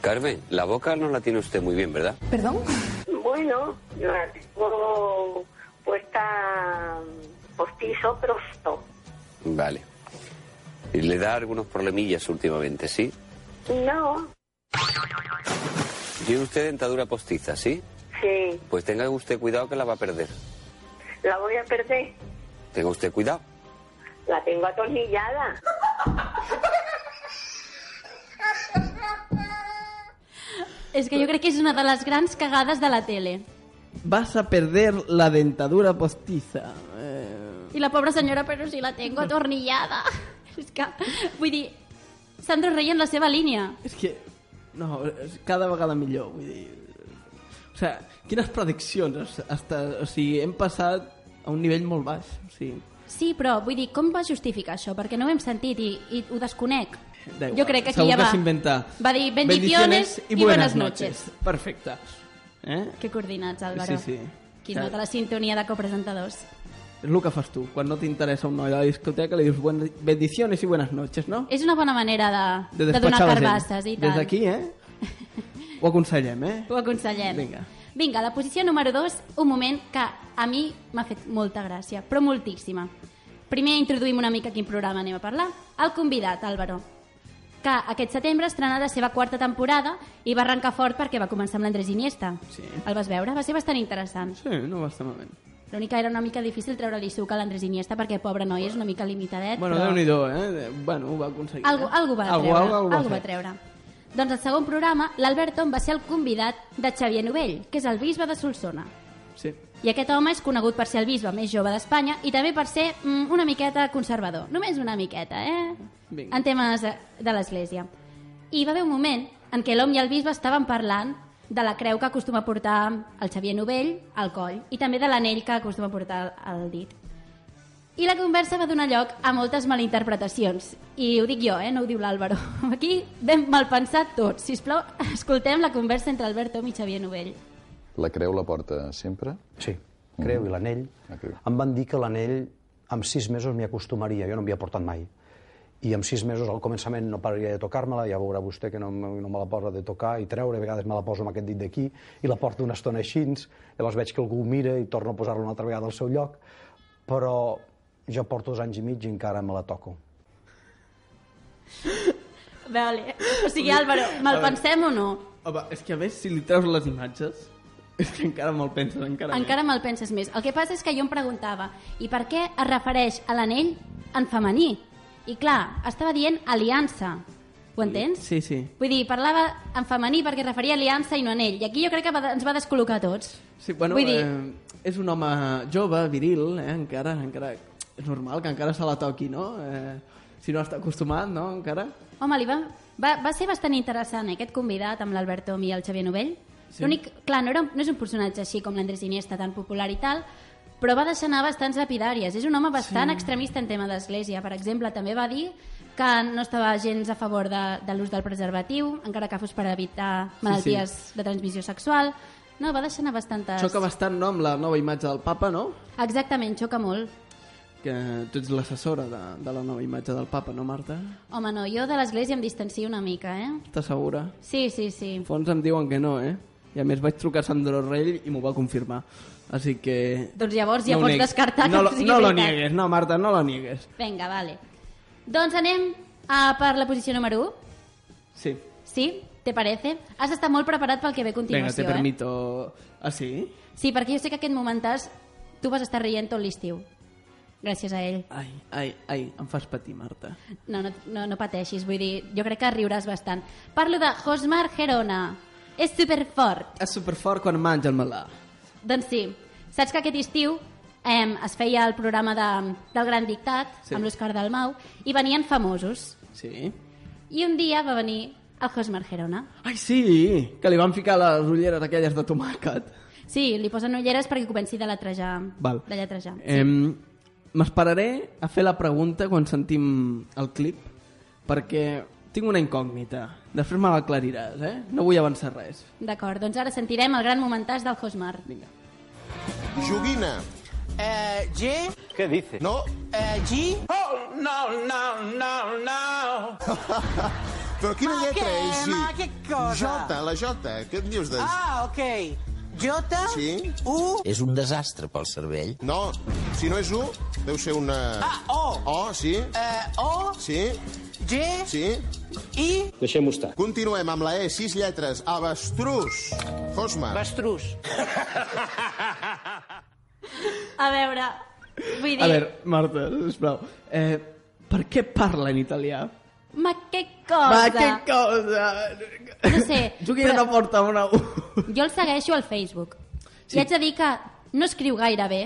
Speaker 12: Carmen, la boca no la tiene usted muy bien, ¿verdad?
Speaker 13: ¿Perdón? Bueno, la tengo puesta mm, postizo, pero no.
Speaker 12: Vale. Y le da algunos problemillas últimamente, ¿sí?
Speaker 13: No,
Speaker 12: Tiene usted dentadura postiza, ¿sí?
Speaker 13: sí,
Speaker 12: Pues tenga usted cuidado que la va a perder.
Speaker 13: la voy a perder,
Speaker 12: Tenga usted cuidado.
Speaker 13: la tengo atornillada.
Speaker 2: És que jo crec que és una de les grans cagades de la tele.
Speaker 3: Vas a perder la dentadura postiza. Eh...
Speaker 2: I la pobra senyora, però si la tengo atornillada. És que, vull dir, Sandro Rey en la seva línia.
Speaker 3: És que... No, és cada vegada millor, vull dir... O sigui, quines prediccions? Hasta, o sigui, hem passat a un nivell molt baix. O sigui,
Speaker 2: Sí, però vull dir, com va justificar això? Perquè no ho hem sentit i, i ho desconec.
Speaker 3: da igual.
Speaker 2: Jo crec que aquí
Speaker 3: Segur
Speaker 2: ja
Speaker 3: que
Speaker 2: va.
Speaker 3: s'inventa.
Speaker 2: Va dir, bendiciones
Speaker 3: Bendiciones
Speaker 2: i
Speaker 3: buenas
Speaker 2: buenas noches.
Speaker 3: Perfecte. Eh?
Speaker 2: Que coordinats, Álvaro.
Speaker 3: Sí, sí.
Speaker 2: Qui
Speaker 3: Ja.
Speaker 2: nota la sintonia de copresentadors.
Speaker 3: És el que fas tu. Quan no t'interessa un noi a la discoteca, li dius buen- bendiciones i buenas noches, no?
Speaker 2: És una bona manera de, de, donar
Speaker 3: despatxar la gent.
Speaker 2: carbasses i
Speaker 3: Des
Speaker 2: tal.
Speaker 3: d'aquí, eh? Ho aconsellem, eh?
Speaker 2: Ho aconsellem.
Speaker 3: Vinga.
Speaker 2: Vinga, la posició número 2, un moment que a mi m'ha fet molta gràcia, però moltíssima. Primer introduïm una mica quin programa anem a parlar. El convidat, Álvaro, que aquest setembre estrenà la seva quarta temporada i va arrencar fort perquè va començar amb l'Andrés Iniesta.
Speaker 3: Sí.
Speaker 2: El vas veure? Va ser bastant interessant.
Speaker 3: Sí, no va estar malament.
Speaker 2: L'únic que era una mica difícil treure-li suc a l'Andrés Iniesta perquè, pobre noi, és una mica limitadet.
Speaker 3: Bueno,
Speaker 2: però...
Speaker 3: Déu-n'hi-do, eh? De- Bueno, ho va aconseguir.
Speaker 2: Algú,
Speaker 3: eh?
Speaker 2: algú va
Speaker 3: algú,
Speaker 2: treure.
Speaker 3: Algú, algú,
Speaker 2: algú
Speaker 3: va
Speaker 2: va
Speaker 3: fer.
Speaker 2: treure. Doncs al segon programa, l'Albert Tom va ser el convidat de Xavier Novell, que és el bisbe de Solsona.
Speaker 3: Sí.
Speaker 2: I aquest home és conegut per ser el bisbe més jove d'Espanya i també per ser mm, una miqueta conservador. Només una miqueta, eh?
Speaker 3: Vinga.
Speaker 2: En temes eh, de l'Església. I hi va haver un moment en què l'home i el bisbe estaven parlant de la creu que acostuma a portar el Xavier Novell al coll i també de l'anell que acostuma a portar al dit. I la conversa va donar lloc a moltes malinterpretacions. I ho dic jo, eh? no ho diu l'Àlvaro. Aquí vam malpensar tots. Si plau, escoltem la conversa entre Albert Tom i Xavier Novell.
Speaker 14: La creu la porta sempre?
Speaker 15: Sí, creu i l'anell. Em van dir que l'anell amb sis mesos m'hi acostumaria, jo no m'hi havia portat mai. I amb sis mesos al començament no pararia de tocar-me-la, ja veurà vostè que no, me- no me la posa de tocar i treure, a vegades me la poso amb aquest dit d'aquí i la porto una estona així, llavors veig que algú ho mira i torno a posar-la una altra vegada al seu lloc, però jo porto dos anys i mig i encara me la toco.
Speaker 2: Vale. O sigui, Álvaro, malpensem o no?
Speaker 3: Home, és que a més, si li treus les imatges, és que encara me'l penses, encara,
Speaker 2: Encara me'l penses més. El que passa és que jo em preguntava i per què es refereix a l'anell en femení? I clar, estava dient aliança. Ho entens?
Speaker 3: Sí, sí.
Speaker 2: Vull dir, parlava en femení perquè es referia a aliança i no anell. I aquí jo crec que va, ens va descol·locar a tots.
Speaker 3: sí bueno,
Speaker 2: Vull dir-
Speaker 3: eh, és un home jove, viril, eh, encara, encara... És normal que encara se la toqui, no? Eh, si no està acostumat, no, encara?
Speaker 2: Home, li va, va, va ser bastant interessant eh, aquest convidat amb l'Albert Tom i el Xavier Novell.
Speaker 3: Sí.
Speaker 2: Sí. L'únic, clar, no, era, no és un personatge així com l'Andrés Iniesta, tan popular i tal, però va deixar anar bastants lapidàries. És un home bastant extremista en tema d'església. Per exemple, també va dir que no estava gens a favor de, de l'ús del preservatiu, encara que fos per evitar
Speaker 3: sí.
Speaker 2: malalties de transmissió sexual. No, va deixar anar bastantes...
Speaker 3: Xoca bastant, no?, amb la nova imatge del papa, no?
Speaker 2: Exactament, xoca molt.
Speaker 3: Que tu ets l'assessora de, de la nova imatge del papa, no, Marta?
Speaker 2: Home, no, jo de l'església em distancio una mica, eh?
Speaker 3: Estàs segura?
Speaker 2: Sí, sí, sí.
Speaker 3: Fons em diuen que no, eh? I a més vaig trucar a Sandro Rell i m'ho va confirmar. Així que...
Speaker 2: Doncs llavors ja
Speaker 3: ho
Speaker 2: pots
Speaker 3: neguis.
Speaker 2: descartar que
Speaker 3: no, lo-
Speaker 2: sigui
Speaker 3: No lo
Speaker 2: veritat.
Speaker 3: niegues, no, Marta, no lo niegues.
Speaker 2: Vinga, vale. Doncs anem a per la posició número 1.
Speaker 3: Sí.
Speaker 2: Sí? Te parece? Has estat molt preparat pel que ve a
Speaker 3: Vinga,
Speaker 2: continuació,
Speaker 3: te permito... Ah, sí?
Speaker 2: eh? Sí, perquè jo sé que aquest momentàs tu vas estar rient tot l'estiu. Gràcies a ell.
Speaker 3: Ai, ai, ai, em fas patir, Marta.
Speaker 2: No, no, no, no pateixis, vull dir, jo crec que riuràs bastant. Parlo de Josmar Gerona. És superfort.
Speaker 3: És superfort quan menja el melà.
Speaker 2: Doncs sí, saps que aquest estiu eh, es feia el programa de, del Gran Dictat
Speaker 3: Sí.
Speaker 2: sí. amb l'Òscar Dalmau i venien famosos.
Speaker 3: Sí.
Speaker 2: I un dia va venir el Josmar Gerona.
Speaker 3: Ai, sí, que li van ficar les ulleres aquelles de tomàquet.
Speaker 2: Sí, li posen ulleres perquè comenci de letrejar.
Speaker 3: Val.
Speaker 2: De lletrejar.
Speaker 3: Sí. Em, M'esperaré a fer la pregunta quan sentim el clip, perquè tinc una incògnita. Després me l'aclariràs, eh? No vull avançar res.
Speaker 2: D'acord, doncs ara sentirem el gran momentàs del Josmar.
Speaker 3: Vinga.
Speaker 16: Joguina.
Speaker 5: Eh, G?
Speaker 16: Què dices? No.
Speaker 5: Eh, G? Oh, no, no, no, no.
Speaker 16: Però quina
Speaker 5: Ma
Speaker 16: lletra
Speaker 5: què?
Speaker 16: és?
Speaker 5: Ma que cosa?
Speaker 16: Jota, la Jota. Què et dius de...
Speaker 5: Ah, ok. Jota?
Speaker 16: Sí?
Speaker 5: U?
Speaker 17: És un desastre pel cervell.
Speaker 16: No, si no és U, deu ser una...
Speaker 5: Ah, O.
Speaker 16: O, sí?
Speaker 5: Eh, O?
Speaker 16: Sí?
Speaker 5: G?
Speaker 16: Sí?
Speaker 5: I?
Speaker 16: Deixem-ho estar. Continuem amb la E, sis lletres. Avestrus. Josmar. Avestrus.
Speaker 2: A veure, vull dir...
Speaker 3: A veure, Marta, sisplau, eh, per què parla en italià?
Speaker 2: Ma que cosa!
Speaker 3: Ma que cosa!
Speaker 2: No sé,
Speaker 3: Joguina no porta una U.
Speaker 2: jo el segueixo al Facebook. Sí.
Speaker 3: Sí.
Speaker 2: I haig de dir que no escriu gaire bé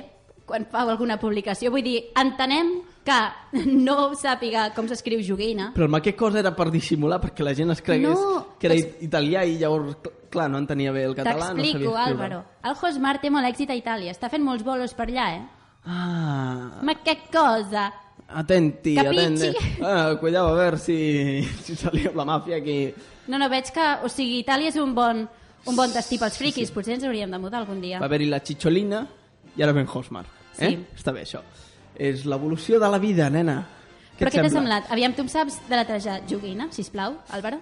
Speaker 2: quan fa alguna publicació. Vull dir, entenem que no sàpiga com s'escriu joguina.
Speaker 3: Però el ma que cosa era per dissimular, perquè la gent es cregués
Speaker 2: No,
Speaker 3: que era italià i llavors, cl- clar, no entenia bé el català, no sabia
Speaker 2: T'explico,
Speaker 3: escriure.
Speaker 2: Álvaro. El Josmar té molt èxit a Itàlia. Està fent molts bolos per allà, eh?
Speaker 3: Ah,
Speaker 2: Ma que cosa!
Speaker 3: atenti,
Speaker 2: Capisci?
Speaker 3: atenti. Ah, cuidado a ver si, si salió la màfia aquí.
Speaker 2: No, no, veig que... O sigui, Itàlia és un bon, un bon destí pels friquis. Potser ens hauríem de mudar algun dia.
Speaker 3: Va haver-hi la xicholina i ara ven Hosmar. Eh?
Speaker 2: Sí.
Speaker 3: Està bé, això. És l'evolució de la vida, nena.
Speaker 2: Però
Speaker 3: et
Speaker 2: què t'ha semblat? Aviam, tu em saps de letrejar joguina, si plau, Álvaro?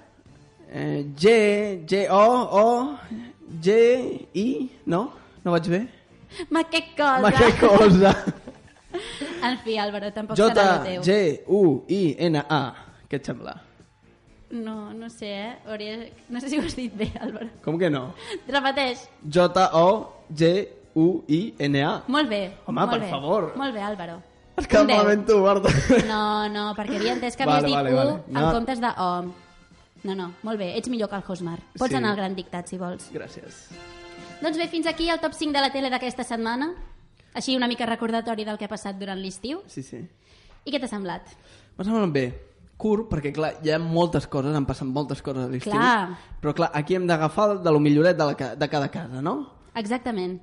Speaker 3: Eh, G, G, O, O, G, I, no? No vaig bé?
Speaker 2: Ma que cosa!
Speaker 3: Ma que cosa!
Speaker 2: En fi, Álvaro, tampoc
Speaker 3: J,
Speaker 2: serà el teu.
Speaker 3: G, U, I, N, A. Què et sembla?
Speaker 2: No, no sé, eh? Hauria... No sé si ho has dit bé, Álvaro.
Speaker 3: Com que no?
Speaker 2: Repeteix.
Speaker 3: J, O, G, U, I, N, A.
Speaker 2: Molt bé.
Speaker 3: Home,
Speaker 2: molt
Speaker 3: per
Speaker 2: bé.
Speaker 3: favor.
Speaker 2: Molt bé, Álvaro.
Speaker 3: Has quedat malament tu, Marta.
Speaker 2: No, no, perquè havia entès que
Speaker 3: Vale,
Speaker 2: havies dit
Speaker 3: vale,
Speaker 2: U
Speaker 3: vale.
Speaker 2: en
Speaker 3: No.
Speaker 2: comptes de O. No, no, molt bé, ets millor que el Josmar. Pots
Speaker 3: Sí.
Speaker 2: anar al gran dictat, si vols.
Speaker 3: Gràcies.
Speaker 2: Doncs bé, fins aquí el top 5 de la tele d'aquesta setmana. Així una mica recordatori del que ha passat durant l'estiu.
Speaker 3: Sí, sí.
Speaker 2: I què t'ha semblat?
Speaker 3: M'ha semblat bé. Curt, perquè clar, hi ha moltes coses, han passat moltes coses a l'estiu.
Speaker 2: Clar.
Speaker 3: Però clar, aquí hem d'agafar de lo milloret de, la, ca- de cada casa, no?
Speaker 2: Exactament.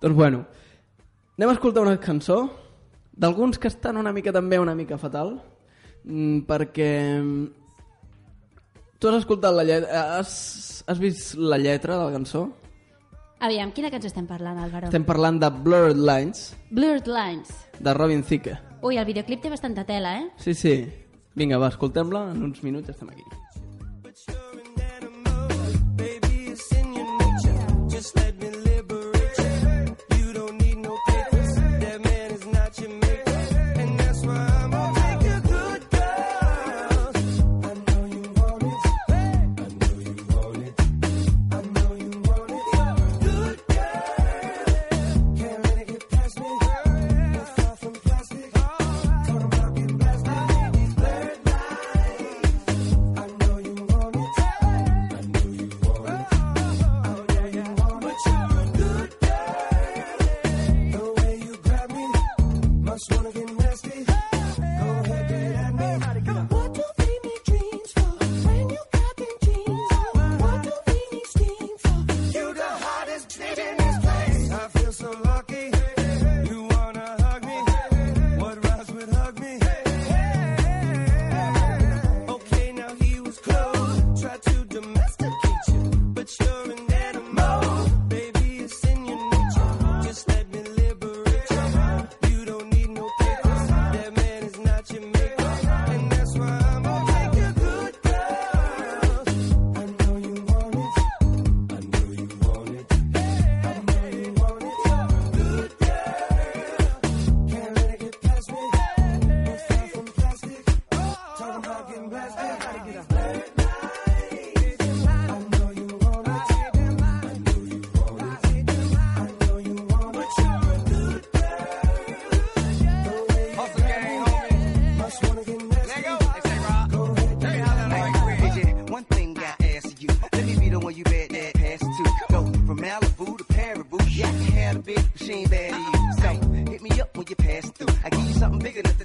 Speaker 3: Doncs bueno, anem a escoltar una cançó d'alguns que estan una mica també una mica fatal, mm, perquè mm, tu has escoltat la lletra, has, has vist la lletra de la cançó?
Speaker 2: Aviam, quina cançó estem parlant, Álvaro?
Speaker 3: Estem parlant de Blurred Lines,
Speaker 2: Blurred Lines.
Speaker 3: de Robin Thicke.
Speaker 2: Ui, el videoclip té bastanta tela, eh?
Speaker 3: Sí, sí. Vinga, va, escoltem-la, en uns minuts estem aquí.
Speaker 5: Baby, it's in your nature. Just let me liberate you. You don't need no papers. That man is not your maker. And that's why I'm a make a good girl. I know you want it. I know you want it. I know you want it. Good girl. Can't let it get past me. We're far from plastic. Talk about getting plastic. Blurred lines. I know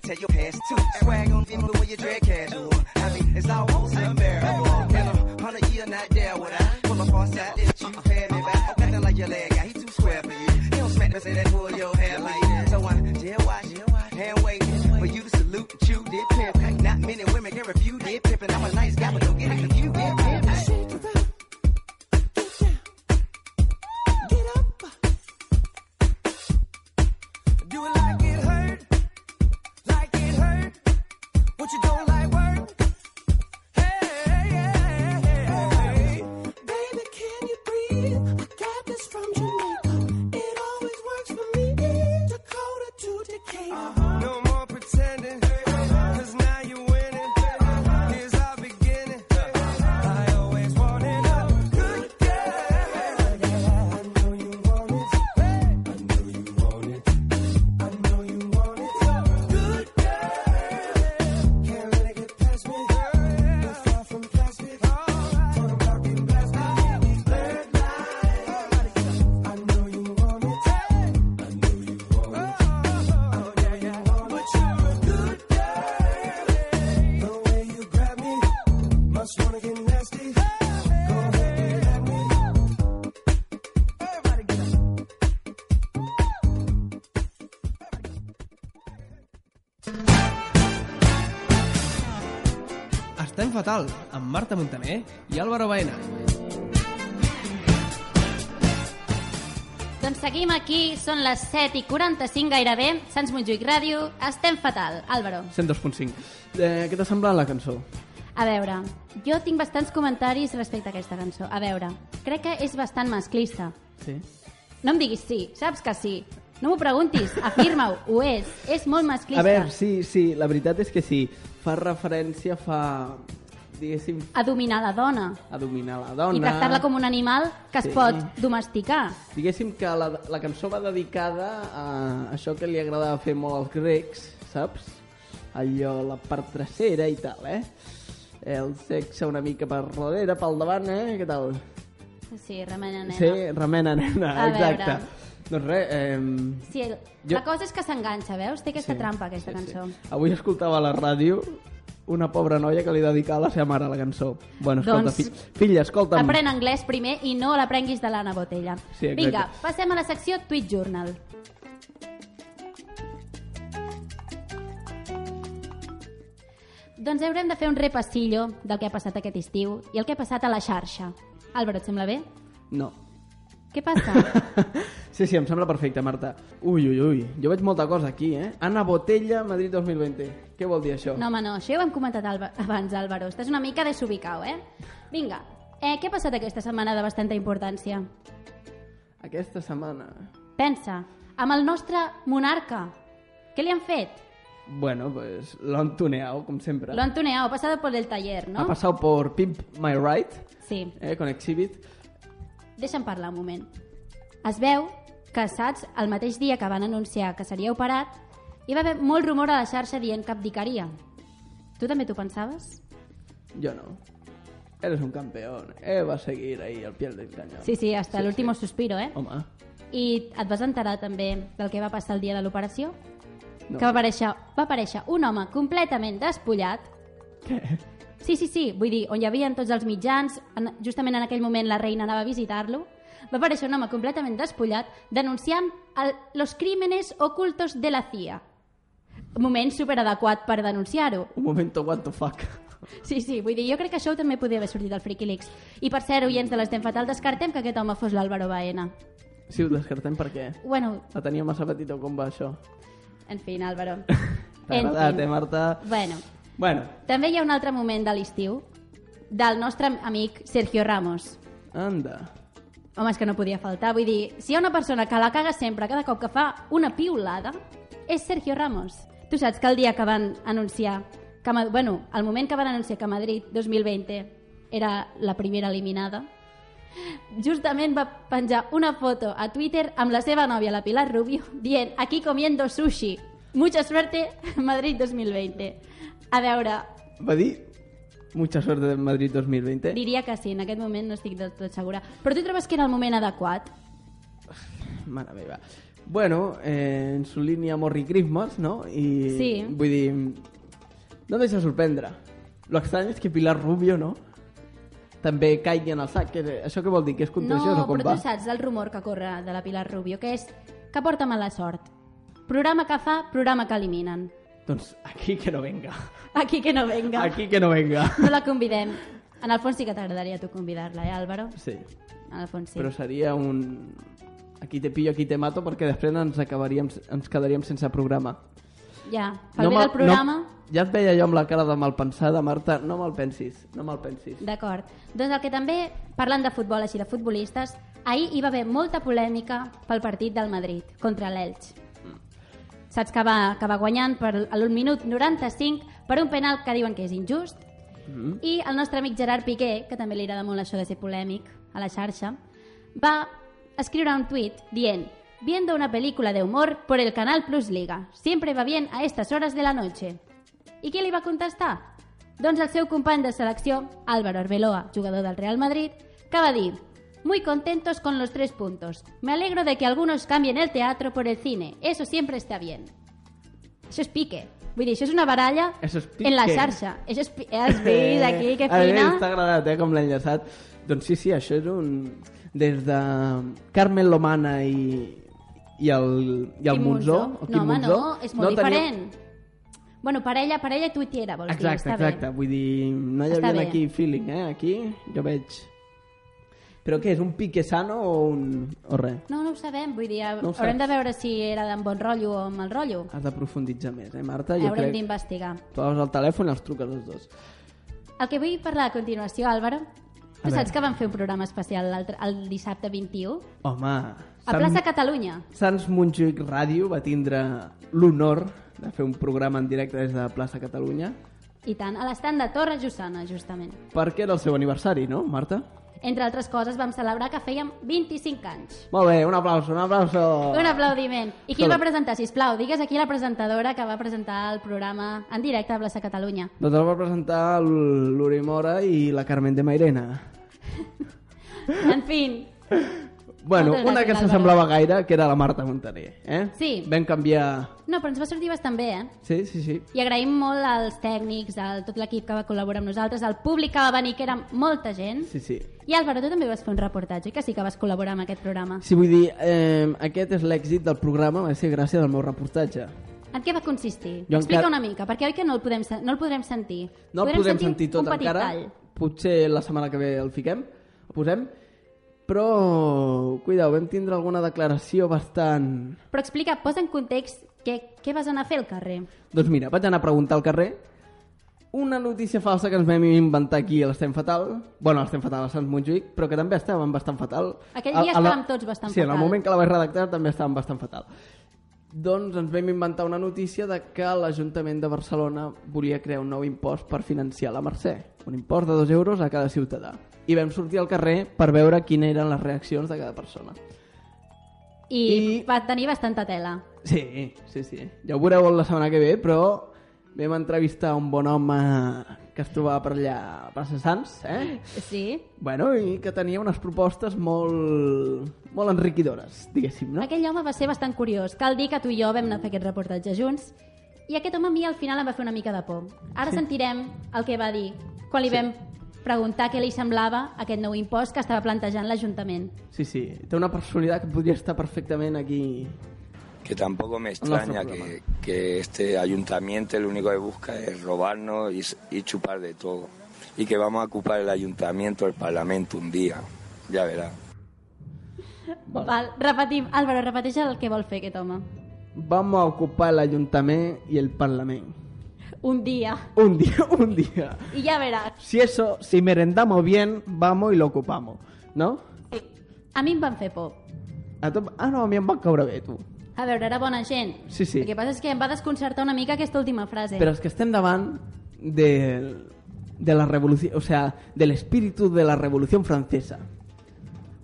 Speaker 18: tell your past too. Swag on in the way you drag casual. I mean, it's almost unbearable. In a hundred year, not there would I pull up on side, let you pay me back. Nothing like your leg guy, he too square for you. He don't smack me, say that pull your hair like. So I dare watch, hand wait for you to salute and chew did pimp. Not many women can refute did pimp, and I'm a nice guy, but don't get it confused. Did pimp.
Speaker 5: Do it like it hurt, like it hurt. What you don't like work? Hey, hey, hey, hey. Baby, can you breathe? I got this from Jamaica. It always works for me. Dakota to Decatur. No more pretending, 'cause now you're winning. Here's our beginning. I always wanted a good girl. I know you want it. I know you want it. I know you want it. Good girl. Can't let it get past me. Not far from plastic. Photo blocking plastic. Blurred lines. I know you want it. I know you want it. Oh, yeah, yeah. But you're a good girl. The way you grab me. Must wanna get nasty. Go ahead and grab me. Everybody get up.
Speaker 1: Estem fatal amb Marta Montaner i Álvaro Baena.
Speaker 2: Doncs seguim aquí, són les 7 i 45 gairebé, Sants Montjuïc Ràdio, estem fatal. Álvaro,
Speaker 3: 102.5. Eh, què t'ha semblat la cançó?
Speaker 2: a veure, jo tinc bastants comentaris respecte a aquesta cançó. A veure, crec que és bastant masclista.
Speaker 3: Sí.
Speaker 2: No em diguis sí, saps que sí. No m'ho preguntis, afirma-ho, ho és. És molt masclista.
Speaker 3: A veure, sí, sí, la veritat és que sí. Fa referència, fa, diguéssim,
Speaker 2: A dominar la dona.
Speaker 3: a dominar la dona.
Speaker 2: I tractar-la com un animal que es
Speaker 3: Sí.
Speaker 2: pot domesticar.
Speaker 3: Diguéssim que la, la cançó va dedicada a això que li agradava fer molt als grecs, saps? Allò, la part trasera i tal, eh? El sexe una mica per darrere, pel davant, eh? Què tal?
Speaker 2: Sí, remena nena.
Speaker 3: Sí, remena, nena,
Speaker 2: A veure.
Speaker 3: exacte. Doncs res, eh,
Speaker 2: Sí, el-
Speaker 3: Jo-
Speaker 2: la cosa és que s'enganxa, veus? Té aquesta
Speaker 3: Sí,
Speaker 2: trampa, aquesta cançó.
Speaker 3: avui escoltava a la ràdio una pobra noia que li dedicava a la seva mare la cançó. Bueno, escolta,
Speaker 2: Doncs-
Speaker 3: doncs... fi, filla, escolta'm.
Speaker 2: Aprèn anglès primer i no l'aprenguis de l'Anna Botella.
Speaker 3: Sí, exacte.
Speaker 2: Vinga, passem a la secció Tweet Journal. Doncs haurem de fer un repassillo del que ha passat aquest estiu i el que ha passat a la xarxa. Álvaro, et sembla bé?
Speaker 3: No.
Speaker 2: Què passa?
Speaker 3: Sí, sí, em sembla perfecte, Marta. Ui, ui, ui, jo veig molta cosa aquí, eh? Anna Botella, Madrid 2020. Què vol dir això?
Speaker 2: No, home, no, això ja ho hem comentat alba- abans, Álvaro. Estàs una mica desubicau, eh? Vinga, eh, què ha passat aquesta setmana de bastanta importància?
Speaker 3: Aquesta setmana...
Speaker 2: Pensa, amb el nostre monarca. Què li han fet?
Speaker 3: Bueno, pues l'han tuneado, com sempre.
Speaker 2: Lo han tuneado, ha pasado por el taller, ¿no?
Speaker 3: Ha passat per Pimp My Right,
Speaker 2: Sí.
Speaker 3: eh, con Exhibit.
Speaker 2: Deixa'm parlar un moment. Es veu que Sats, el mateix dia que van anunciar que seria operat, hi va haver molt rumor a la xarxa dient que abdicaria. Tu també t'ho pensaves?
Speaker 3: Jo no. Eres un campeón. Eh, va seguir ahí al piel del cañón.
Speaker 2: Sí, sí, hasta l'últim suspiro, eh?
Speaker 3: Home,
Speaker 2: I et vas enterar també del que va passar el dia de l'operació?
Speaker 3: No.
Speaker 2: Que va aparèixer, va aparèixer un home completament despullat. Sí, sí, sí, vull dir, on hi havia tots els mitjans, en, justament en aquell moment la reina anava a visitar-lo, va aparèixer un home completament despullat denunciant el, los crímenes ocultos de la CIA. Moment superadequat per denunciar-ho.
Speaker 3: un momento, what the fuck.
Speaker 2: Sí, sí, vull dir, jo crec que això també podria haver sortit al Freaky I per ser oients de l'Estem Fatal, descartem que aquest home fos l'Àlvaro Baena.
Speaker 3: Sí, ho descartem perquè
Speaker 2: Bueno,
Speaker 3: la tenia massa petita com va això.
Speaker 2: en fi, Álvaro.
Speaker 3: T'ha
Speaker 2: En
Speaker 3: agradat,
Speaker 2: fin.
Speaker 3: eh, Marta?
Speaker 2: Bueno,
Speaker 3: Bueno,
Speaker 2: També hi ha un altre moment de l'estiu del nostre amic Sergio Ramos.
Speaker 3: anda.
Speaker 2: Home, és que no podia faltar. Vull dir, si hi ha una persona que la caga sempre cada cop que fa una piulada, és Sergio Ramos. Tu saps que el dia que van anunciar... Que, Ma- bueno, el moment que van anunciar que Madrid 2020 era la primera eliminada, justament va penjar una foto a Twitter amb la seva nòvia, la Pilar Rubio, dient aquí comiendo sushi. Mucha suerte, Madrid 2020. A veure,
Speaker 3: Va dir... Mucha suerte de Madrid 2020.
Speaker 2: Diria que sí, en aquest moment no estic del tot segura. Però tu trobes que era el moment adequat?
Speaker 3: Mare meva. Bueno, eh, en su línea Morri Christmas, ¿no? I,
Speaker 2: Sí.
Speaker 3: Vull dir, no deixa sorprendre. Lo estrany és que Pilar Rubio, no? També caigui en el sac. Que, això què vol dir? Que és contagiós
Speaker 2: No,
Speaker 3: o com
Speaker 2: però
Speaker 3: va?
Speaker 2: tu saps el rumor que corre de la Pilar Rubio, que és que porta mala sort. Programa que fa, programa que eliminen.
Speaker 3: Doncs aquí que no venga.
Speaker 2: Aquí que no venga.
Speaker 3: Aquí que no venga.
Speaker 2: No la convidem. En el fons sí que t'agradaria a tu convidar-la, eh, Álvaro?
Speaker 3: Sí.
Speaker 2: En el fons sí.
Speaker 3: Però seria un... Aquí te pillo, aquí te mato, perquè després ens, acabaríem, ens quedaríem sense programa.
Speaker 2: Ja, pel bé
Speaker 3: me'l-
Speaker 2: del programa...
Speaker 3: No, ja et veia jo amb la cara de malpensada, Marta. No me'l pensis, no me'l pensis.
Speaker 2: D'acord. Doncs el que també, parlant de futbol així, de futbolistes, ahir hi va haver molta polèmica pel partit del Madrid contra l'Elx. Saps que va, que va guanyant per a l'un minut 95 per un penal que diuen que és injust
Speaker 6: Mm.
Speaker 2: i el nostre amic Gerard Piqué, que també li agrada molt això de ser polèmic a la xarxa, va escriure un tuit dient Viendo una película de humor por el Canal Plus Liga. Siempre va bien a estas horas de la noche. I qui li va contestar? Doncs el seu company de selecció, Álvaro Arbeloa, jugador del Real Madrid, que va dir Muy contentos con los tres puntos. Me alegro de que algunos cambien el teatro por el cine. Eso siempre está bien. Això és pique. Vull dir, això és una baralla
Speaker 3: Això és pique.
Speaker 2: en la xarxa. Això és eh, pique. Has vist aquí, que fina.
Speaker 3: T'ha Eh, agradat, eh, com l'ha enllaçat. Doncs sí, sí, això és un... Des de Carmen Lomana i, i el, i el
Speaker 2: Quim
Speaker 3: Monzó, el Quim
Speaker 2: No, home,
Speaker 3: Monzó,
Speaker 2: no, és molt
Speaker 3: tenia-
Speaker 2: diferent. Bueno, parella, parella i tuitera, vols dir,
Speaker 3: Exacte,
Speaker 2: està
Speaker 3: exacte. Vull dir, no hi
Speaker 2: Està
Speaker 3: havia
Speaker 2: bé.
Speaker 3: aquí feeling, eh? Aquí jo veig... Però què, és un pique sano o un... o res?
Speaker 2: bé. No, no ho sabem, vull dir,
Speaker 3: No ho
Speaker 2: haurem
Speaker 3: saps.
Speaker 2: de veure si era d'en bon rotllo o amb mal rotllo.
Speaker 3: Has de profunditzar més, eh, Marta? Jo
Speaker 2: Haurem
Speaker 3: crec...
Speaker 2: d'investigar.
Speaker 3: Tu agafes el telèfon i els truques els dos.
Speaker 2: El que vull parlar a continuació, Álvaro,
Speaker 3: A
Speaker 2: tu saps
Speaker 3: veure.
Speaker 2: que van fer un programa especial l'altre- el dissabte 21?
Speaker 3: Home...
Speaker 2: A plaça Catalunya.
Speaker 3: Sants Montjuïc Ràdio va tindre l'honor de fer un programa en directe des de Plaça Catalunya
Speaker 2: I tant, a l'estand de Torre Jussana, justament.
Speaker 3: perquè era el seu aniversari, no, Marta?
Speaker 2: Entre altres coses, vam celebrar que fèiem 25 anys.
Speaker 3: Molt bé, un aplauso, un aplauso.
Speaker 2: Un aplaudiment. I qui el
Speaker 3: Solo.
Speaker 2: va presentar, si plau? Digues aquí la presentadora que va presentar el programa en directe a Plaça Catalunya.
Speaker 3: Doncs el va presentar l- l'Uri Mora i la Carmen de Mairena.
Speaker 2: En fi,
Speaker 3: Bueno,
Speaker 2: Moltes
Speaker 3: una
Speaker 2: gràcies,
Speaker 3: que
Speaker 2: Álvaro.
Speaker 3: s'assemblava gaire, que era la Marta Montaner. Eh?
Speaker 2: Sí.
Speaker 3: Vam canviar...
Speaker 2: no, però ens va sortir bastant bé, eh?
Speaker 3: Sí, sí, sí.
Speaker 2: I agraïm molt als tècnics, a tot l'equip que va col·laborar amb nosaltres, al públic que va venir, que era molta gent.
Speaker 3: Sí, sí.
Speaker 2: I Álvaro, tu també vas fer un reportatge, oi que sí que vas col·laborar amb aquest programa.
Speaker 3: Sí, vull dir, eh, aquest és l'èxit del programa, va ser gràcies al meu reportatge.
Speaker 2: En què va consistir?
Speaker 3: Jo
Speaker 2: Explica
Speaker 3: encara-
Speaker 2: una mica, perquè oi que no el, podem, sen- no el podrem sentir.
Speaker 3: No el podem sentir tot
Speaker 2: un petit
Speaker 3: encara.
Speaker 2: tall.
Speaker 3: Potser la setmana que ve el fiquem, el posem. Però, cuidao, vam tindre alguna declaració bastant...
Speaker 2: Però explica, posa en context què, què vas anar a fer al carrer.
Speaker 3: Doncs mira, vaig anar a preguntar al carrer una notícia falsa que ens vam inventar aquí a l'Estem Fatal. Bueno, a l'Estem Fatal a Sants Montjuïc, però que també estàvem bastant fatal.
Speaker 2: Aquell
Speaker 3: A-
Speaker 2: dia
Speaker 3: a la-
Speaker 2: estàvem tots bastant
Speaker 3: sí, en el
Speaker 2: fatal.
Speaker 3: moment que la vaig redactar també estàvem bastant fatal. Doncs ens vam inventar una notícia de que l'Ajuntament de Barcelona volia crear un nou impost per financiar la Mercè. Un impost de 2 euros a cada ciutadà. I vam sortir al carrer per veure quines eren les reaccions de cada persona.
Speaker 2: I, I... va tenir bastanta tela.
Speaker 3: Sí, sí, sí. Ja ho veureu la setmana que ve, però vam entrevistar un bon home que es trobava per allà a Plaça Sants, eh?
Speaker 2: Sí.
Speaker 3: Bueno, i que tenia unes propostes molt, molt enriquidores, diguéssim, no?
Speaker 2: Aquell home va ser bastant curiós. Cal dir que tu i jo vam anar a fer aquest reportatge junts i aquest home a mi al final em va fer una mica de por. Ara sentirem el que va dir quan li
Speaker 3: Sí.
Speaker 2: vam preguntar què li semblava aquest nou impost que estava plantejant l'Ajuntament.
Speaker 3: Sí, sí, té una personalitat que podria estar perfectament aquí.
Speaker 19: que tampoco me
Speaker 3: nuestro
Speaker 19: extraña que, que este ayuntamiento lo único que busca es robarnos y, s- y chupar de todo. Y que vamos a ocupar el ayuntamiento, el parlamento un día. Ya verá.
Speaker 2: Val. repetim. Álvaro, repeteix el que vol fer aquest home.
Speaker 3: Vamos a ocupar l'Ajuntament i el Parlament.
Speaker 2: Un dia.
Speaker 3: Un dia, un dia.
Speaker 2: I ja veràs.
Speaker 3: Si eso, si merendamos bien, vamos y lo ocupamos, no?
Speaker 2: A mi em van fer por.
Speaker 3: A tu... Ah, no, a mi em va caure bé, tu.
Speaker 2: A veure, era bona gent.
Speaker 3: Sí, sí.
Speaker 2: El que passa és que em va desconcertar una mica aquesta última frase.
Speaker 3: Pero es que estén davant del- de la revolución, o sea, del espíritu de la revolución francesa.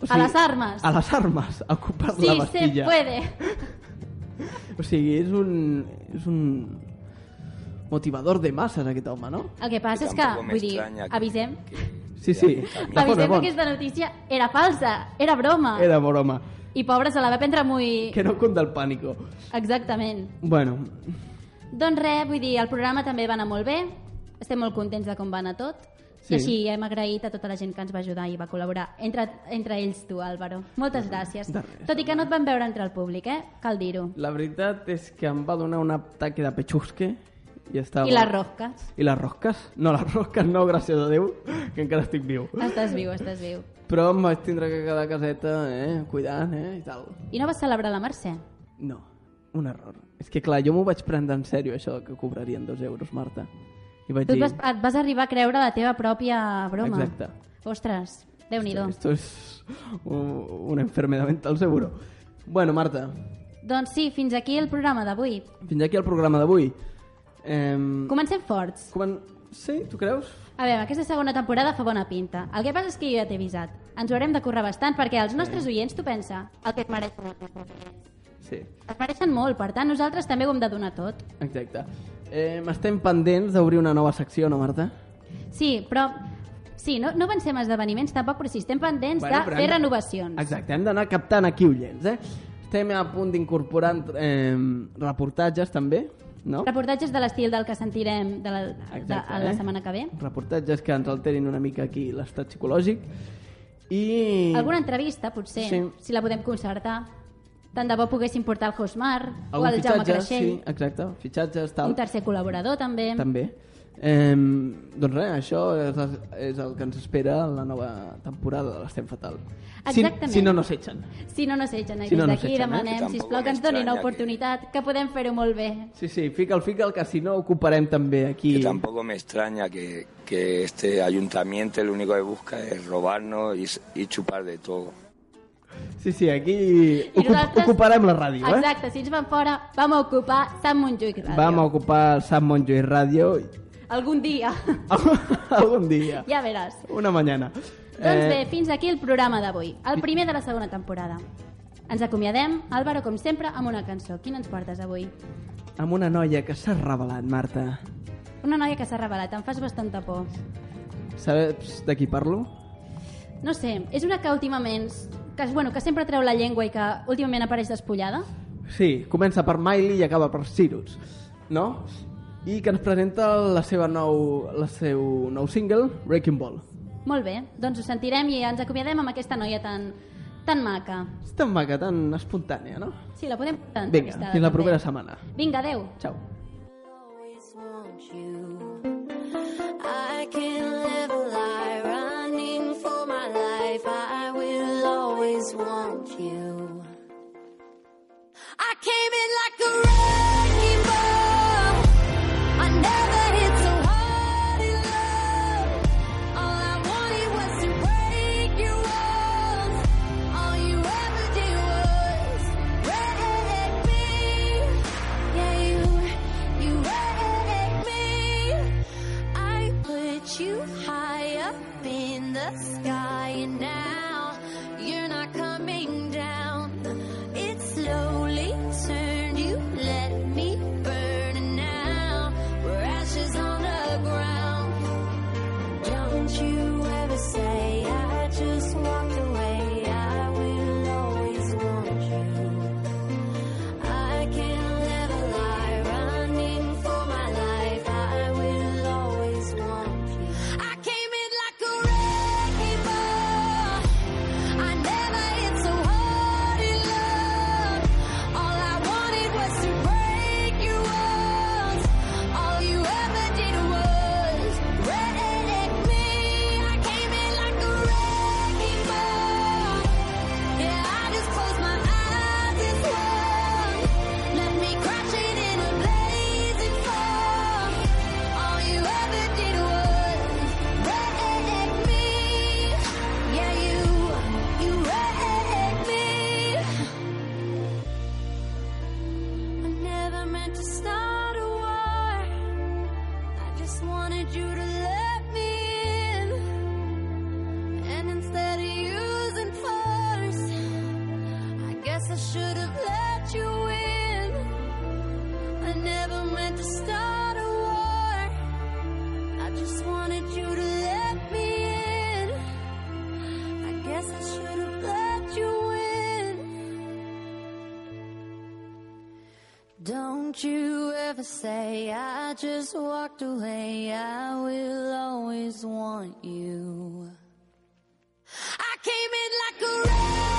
Speaker 3: O
Speaker 2: A les armes.
Speaker 3: A las armas, a ocupar
Speaker 2: Sí,
Speaker 3: la
Speaker 2: se
Speaker 3: Bastilla.
Speaker 2: puede.
Speaker 3: O sigui, és un, és un motivador de masses aquest home, no?
Speaker 2: El que passa és que,
Speaker 3: Tampoco me
Speaker 2: vull dir,
Speaker 3: extraña que-
Speaker 2: avisem,
Speaker 3: Sí, sí.
Speaker 2: avisem que aquesta notícia era falsa, era broma.
Speaker 3: Era broma.
Speaker 2: I pobra, se la va prendre muy...
Speaker 3: Que no cunda el pànico.
Speaker 2: Exactament.
Speaker 3: Bueno,
Speaker 2: Doncs res, vull dir, el programa també va anar molt bé, estem molt contents de com va anar tot,
Speaker 3: Sí.
Speaker 2: i així hem agraït a tota la gent que ens va ajudar i va col·laborar, entre, entre ells tu, Álvaro. Moltes gràcies. Tot i que no et van veure entre el públic, eh? Cal dir-ho.
Speaker 3: la veritat és que em va donar un ataque de pechusque i estava...
Speaker 2: I les rosques.
Speaker 3: I les rosques? No, les rosques no, gràcies a Déu, que encara estic viu.
Speaker 2: Estàs viu, estàs viu.
Speaker 3: Però em vaig tindre que quedar a caseta, eh, cuidant, eh, i tal.
Speaker 2: I no vas celebrar la Mercè?
Speaker 3: No, un error. És que clar, jo m'ho vaig prendre en sèrio, això que cobrarien dos euros, Marta. I vaig
Speaker 2: Tu et
Speaker 3: dir...
Speaker 2: vas, et vas arribar a creure la teva pròpia broma.
Speaker 3: Exacte.
Speaker 2: Ostres, Déu-n'hi-do.
Speaker 3: Esto es un- una enfermedad mental seguro. Bueno, Marta,
Speaker 2: Doncs sí, fins aquí el programa d'avui.
Speaker 3: fins aquí el programa d'avui. Eh,
Speaker 2: Mm. Comencem forts.
Speaker 3: Comen... Sí, tu creus?
Speaker 2: A veure, aquesta segona temporada fa bona pinta. El que passa és que jo ja t'he avisat. Ens ho haurem de currar bastant perquè els nostres oients, tu pensa, el que et mereixen.
Speaker 3: Sí,
Speaker 2: Es mereixen molt, per tant, nosaltres també ho hem de donar tot.
Speaker 3: exacte. Eh, estem pendents d'obrir una nova secció, no, Marta?
Speaker 2: Sí, però... Sí, no, no pensem esdeveniments tampoc, però sí, estem pendents
Speaker 3: Bueno,
Speaker 2: de
Speaker 3: però
Speaker 2: fer
Speaker 3: hem-
Speaker 2: renovacions.
Speaker 3: Exacte, hem d'anar captant aquí ullets, eh? Estem a punt d'incorporar eh, reportatges, també, no?
Speaker 2: Reportatges de l'estil del que sentirem de la, de,
Speaker 3: Exacte,
Speaker 2: a la
Speaker 3: eh?
Speaker 2: setmana que ve.
Speaker 3: Reportatges que ens alterin una mica aquí l'estat psicològic. I...
Speaker 2: Alguna entrevista, potser,
Speaker 3: Sí.
Speaker 2: si la podem concertar. Tant de bo poguéssim portar el Josmar o
Speaker 3: Algun
Speaker 2: el Jaume
Speaker 3: fitxatge,
Speaker 2: Creixell,
Speaker 3: Sí, exacte, fitxatges, tal.
Speaker 2: un tercer col·laborador també.
Speaker 3: També. Eh, doncs res, això és, és el que ens espera en la nova temporada de l'Estem Fatal. Si-
Speaker 2: Exactament.
Speaker 3: Si, no, no s'etxen.
Speaker 2: Si no nos echen, eh,
Speaker 3: Si
Speaker 2: des
Speaker 3: no nos
Speaker 2: d'aquí
Speaker 3: echen, eh?
Speaker 2: demanem,
Speaker 3: Tampoc
Speaker 2: sisplau, que ens donin
Speaker 3: m'estranya
Speaker 2: oportunitat, que, podem fer-ho molt bé.
Speaker 3: Sí, sí, fica'l, fica'l, que si no ocuparem també aquí...
Speaker 19: Que tampoco me extraña que, que este ayuntamiento lo único que busca es robarnos y, s- y chupar de todo.
Speaker 3: Sí, sí, aquí ocup
Speaker 2: nosaltres-
Speaker 3: ocuparem la ràdio, eh?
Speaker 2: Exacte, si ens van fora, vam a ocupar Sant Montjuïc Ràdio.
Speaker 3: Vam a ocupar el Sant Montjuïc Ràdio
Speaker 2: Algun dia,
Speaker 3: algun dia,
Speaker 2: ja veràs.
Speaker 3: una mañana. Eh,
Speaker 2: Doncs bé, fins aquí el programa d'avui, el primer de la segona temporada. Ens acomiadem, Álvaro, com sempre, amb una cançó. Quina ens portes avui?
Speaker 3: Amb una noia que s'ha revelat, Marta.
Speaker 2: Una noia que s'ha revelat, em fas bastanta por.
Speaker 3: Saps de qui parlo?
Speaker 2: No sé, és una que últimament... Que, bueno, que sempre treu la llengua i que últimament apareix despullada.
Speaker 3: Sí, comença per Miley i acaba per Cyrus, no? I que ens presenta la seva nou, la seu nou single, Breaking Ball.
Speaker 2: Molt bé, doncs ho sentirem i ens acomiadem amb aquesta noia tan, tan maca.
Speaker 3: És tan maca, tan espontània, no?
Speaker 2: Sí, la podem portar
Speaker 3: Vinga,
Speaker 2: entrevistada,
Speaker 3: fins la
Speaker 2: també.
Speaker 3: propera setmana.
Speaker 2: Vinga, adeu.
Speaker 3: Ciao.
Speaker 6: I can live a lie running for my life. I will always want you. I came in like a wrecking ball. I never hit so hard in love. All I wanted was to break your walls. All you ever did was wreck me. Yeah, you, you wrecked me. I put you high up in the sky, and now you're not coming down. It slowly turned, you let me burn, and now we're ashes on the ground. Don't you ever say I just walked away, I will always want you. I can live a lie running for my life. I will always want you. I came in like a wrecking ball. I never hit so hard in love. All I wanted was to break your walls. All you ever did was wreck me. I came in like a wrecking ball. Yeah, I just closed my eyes and swung. Let me crash it in a blazing fall. All you ever did was wreck me. Yeah, you, you wrecked me. I never meant to start a war. I just wanted you to let me in. And instead of using force, I guess I should have let you in. I never meant to start a war. I just wanted you to let me in. I guess I should have let you in. Don't you ever say I just walked away. I will always want you. I came in like a wreck.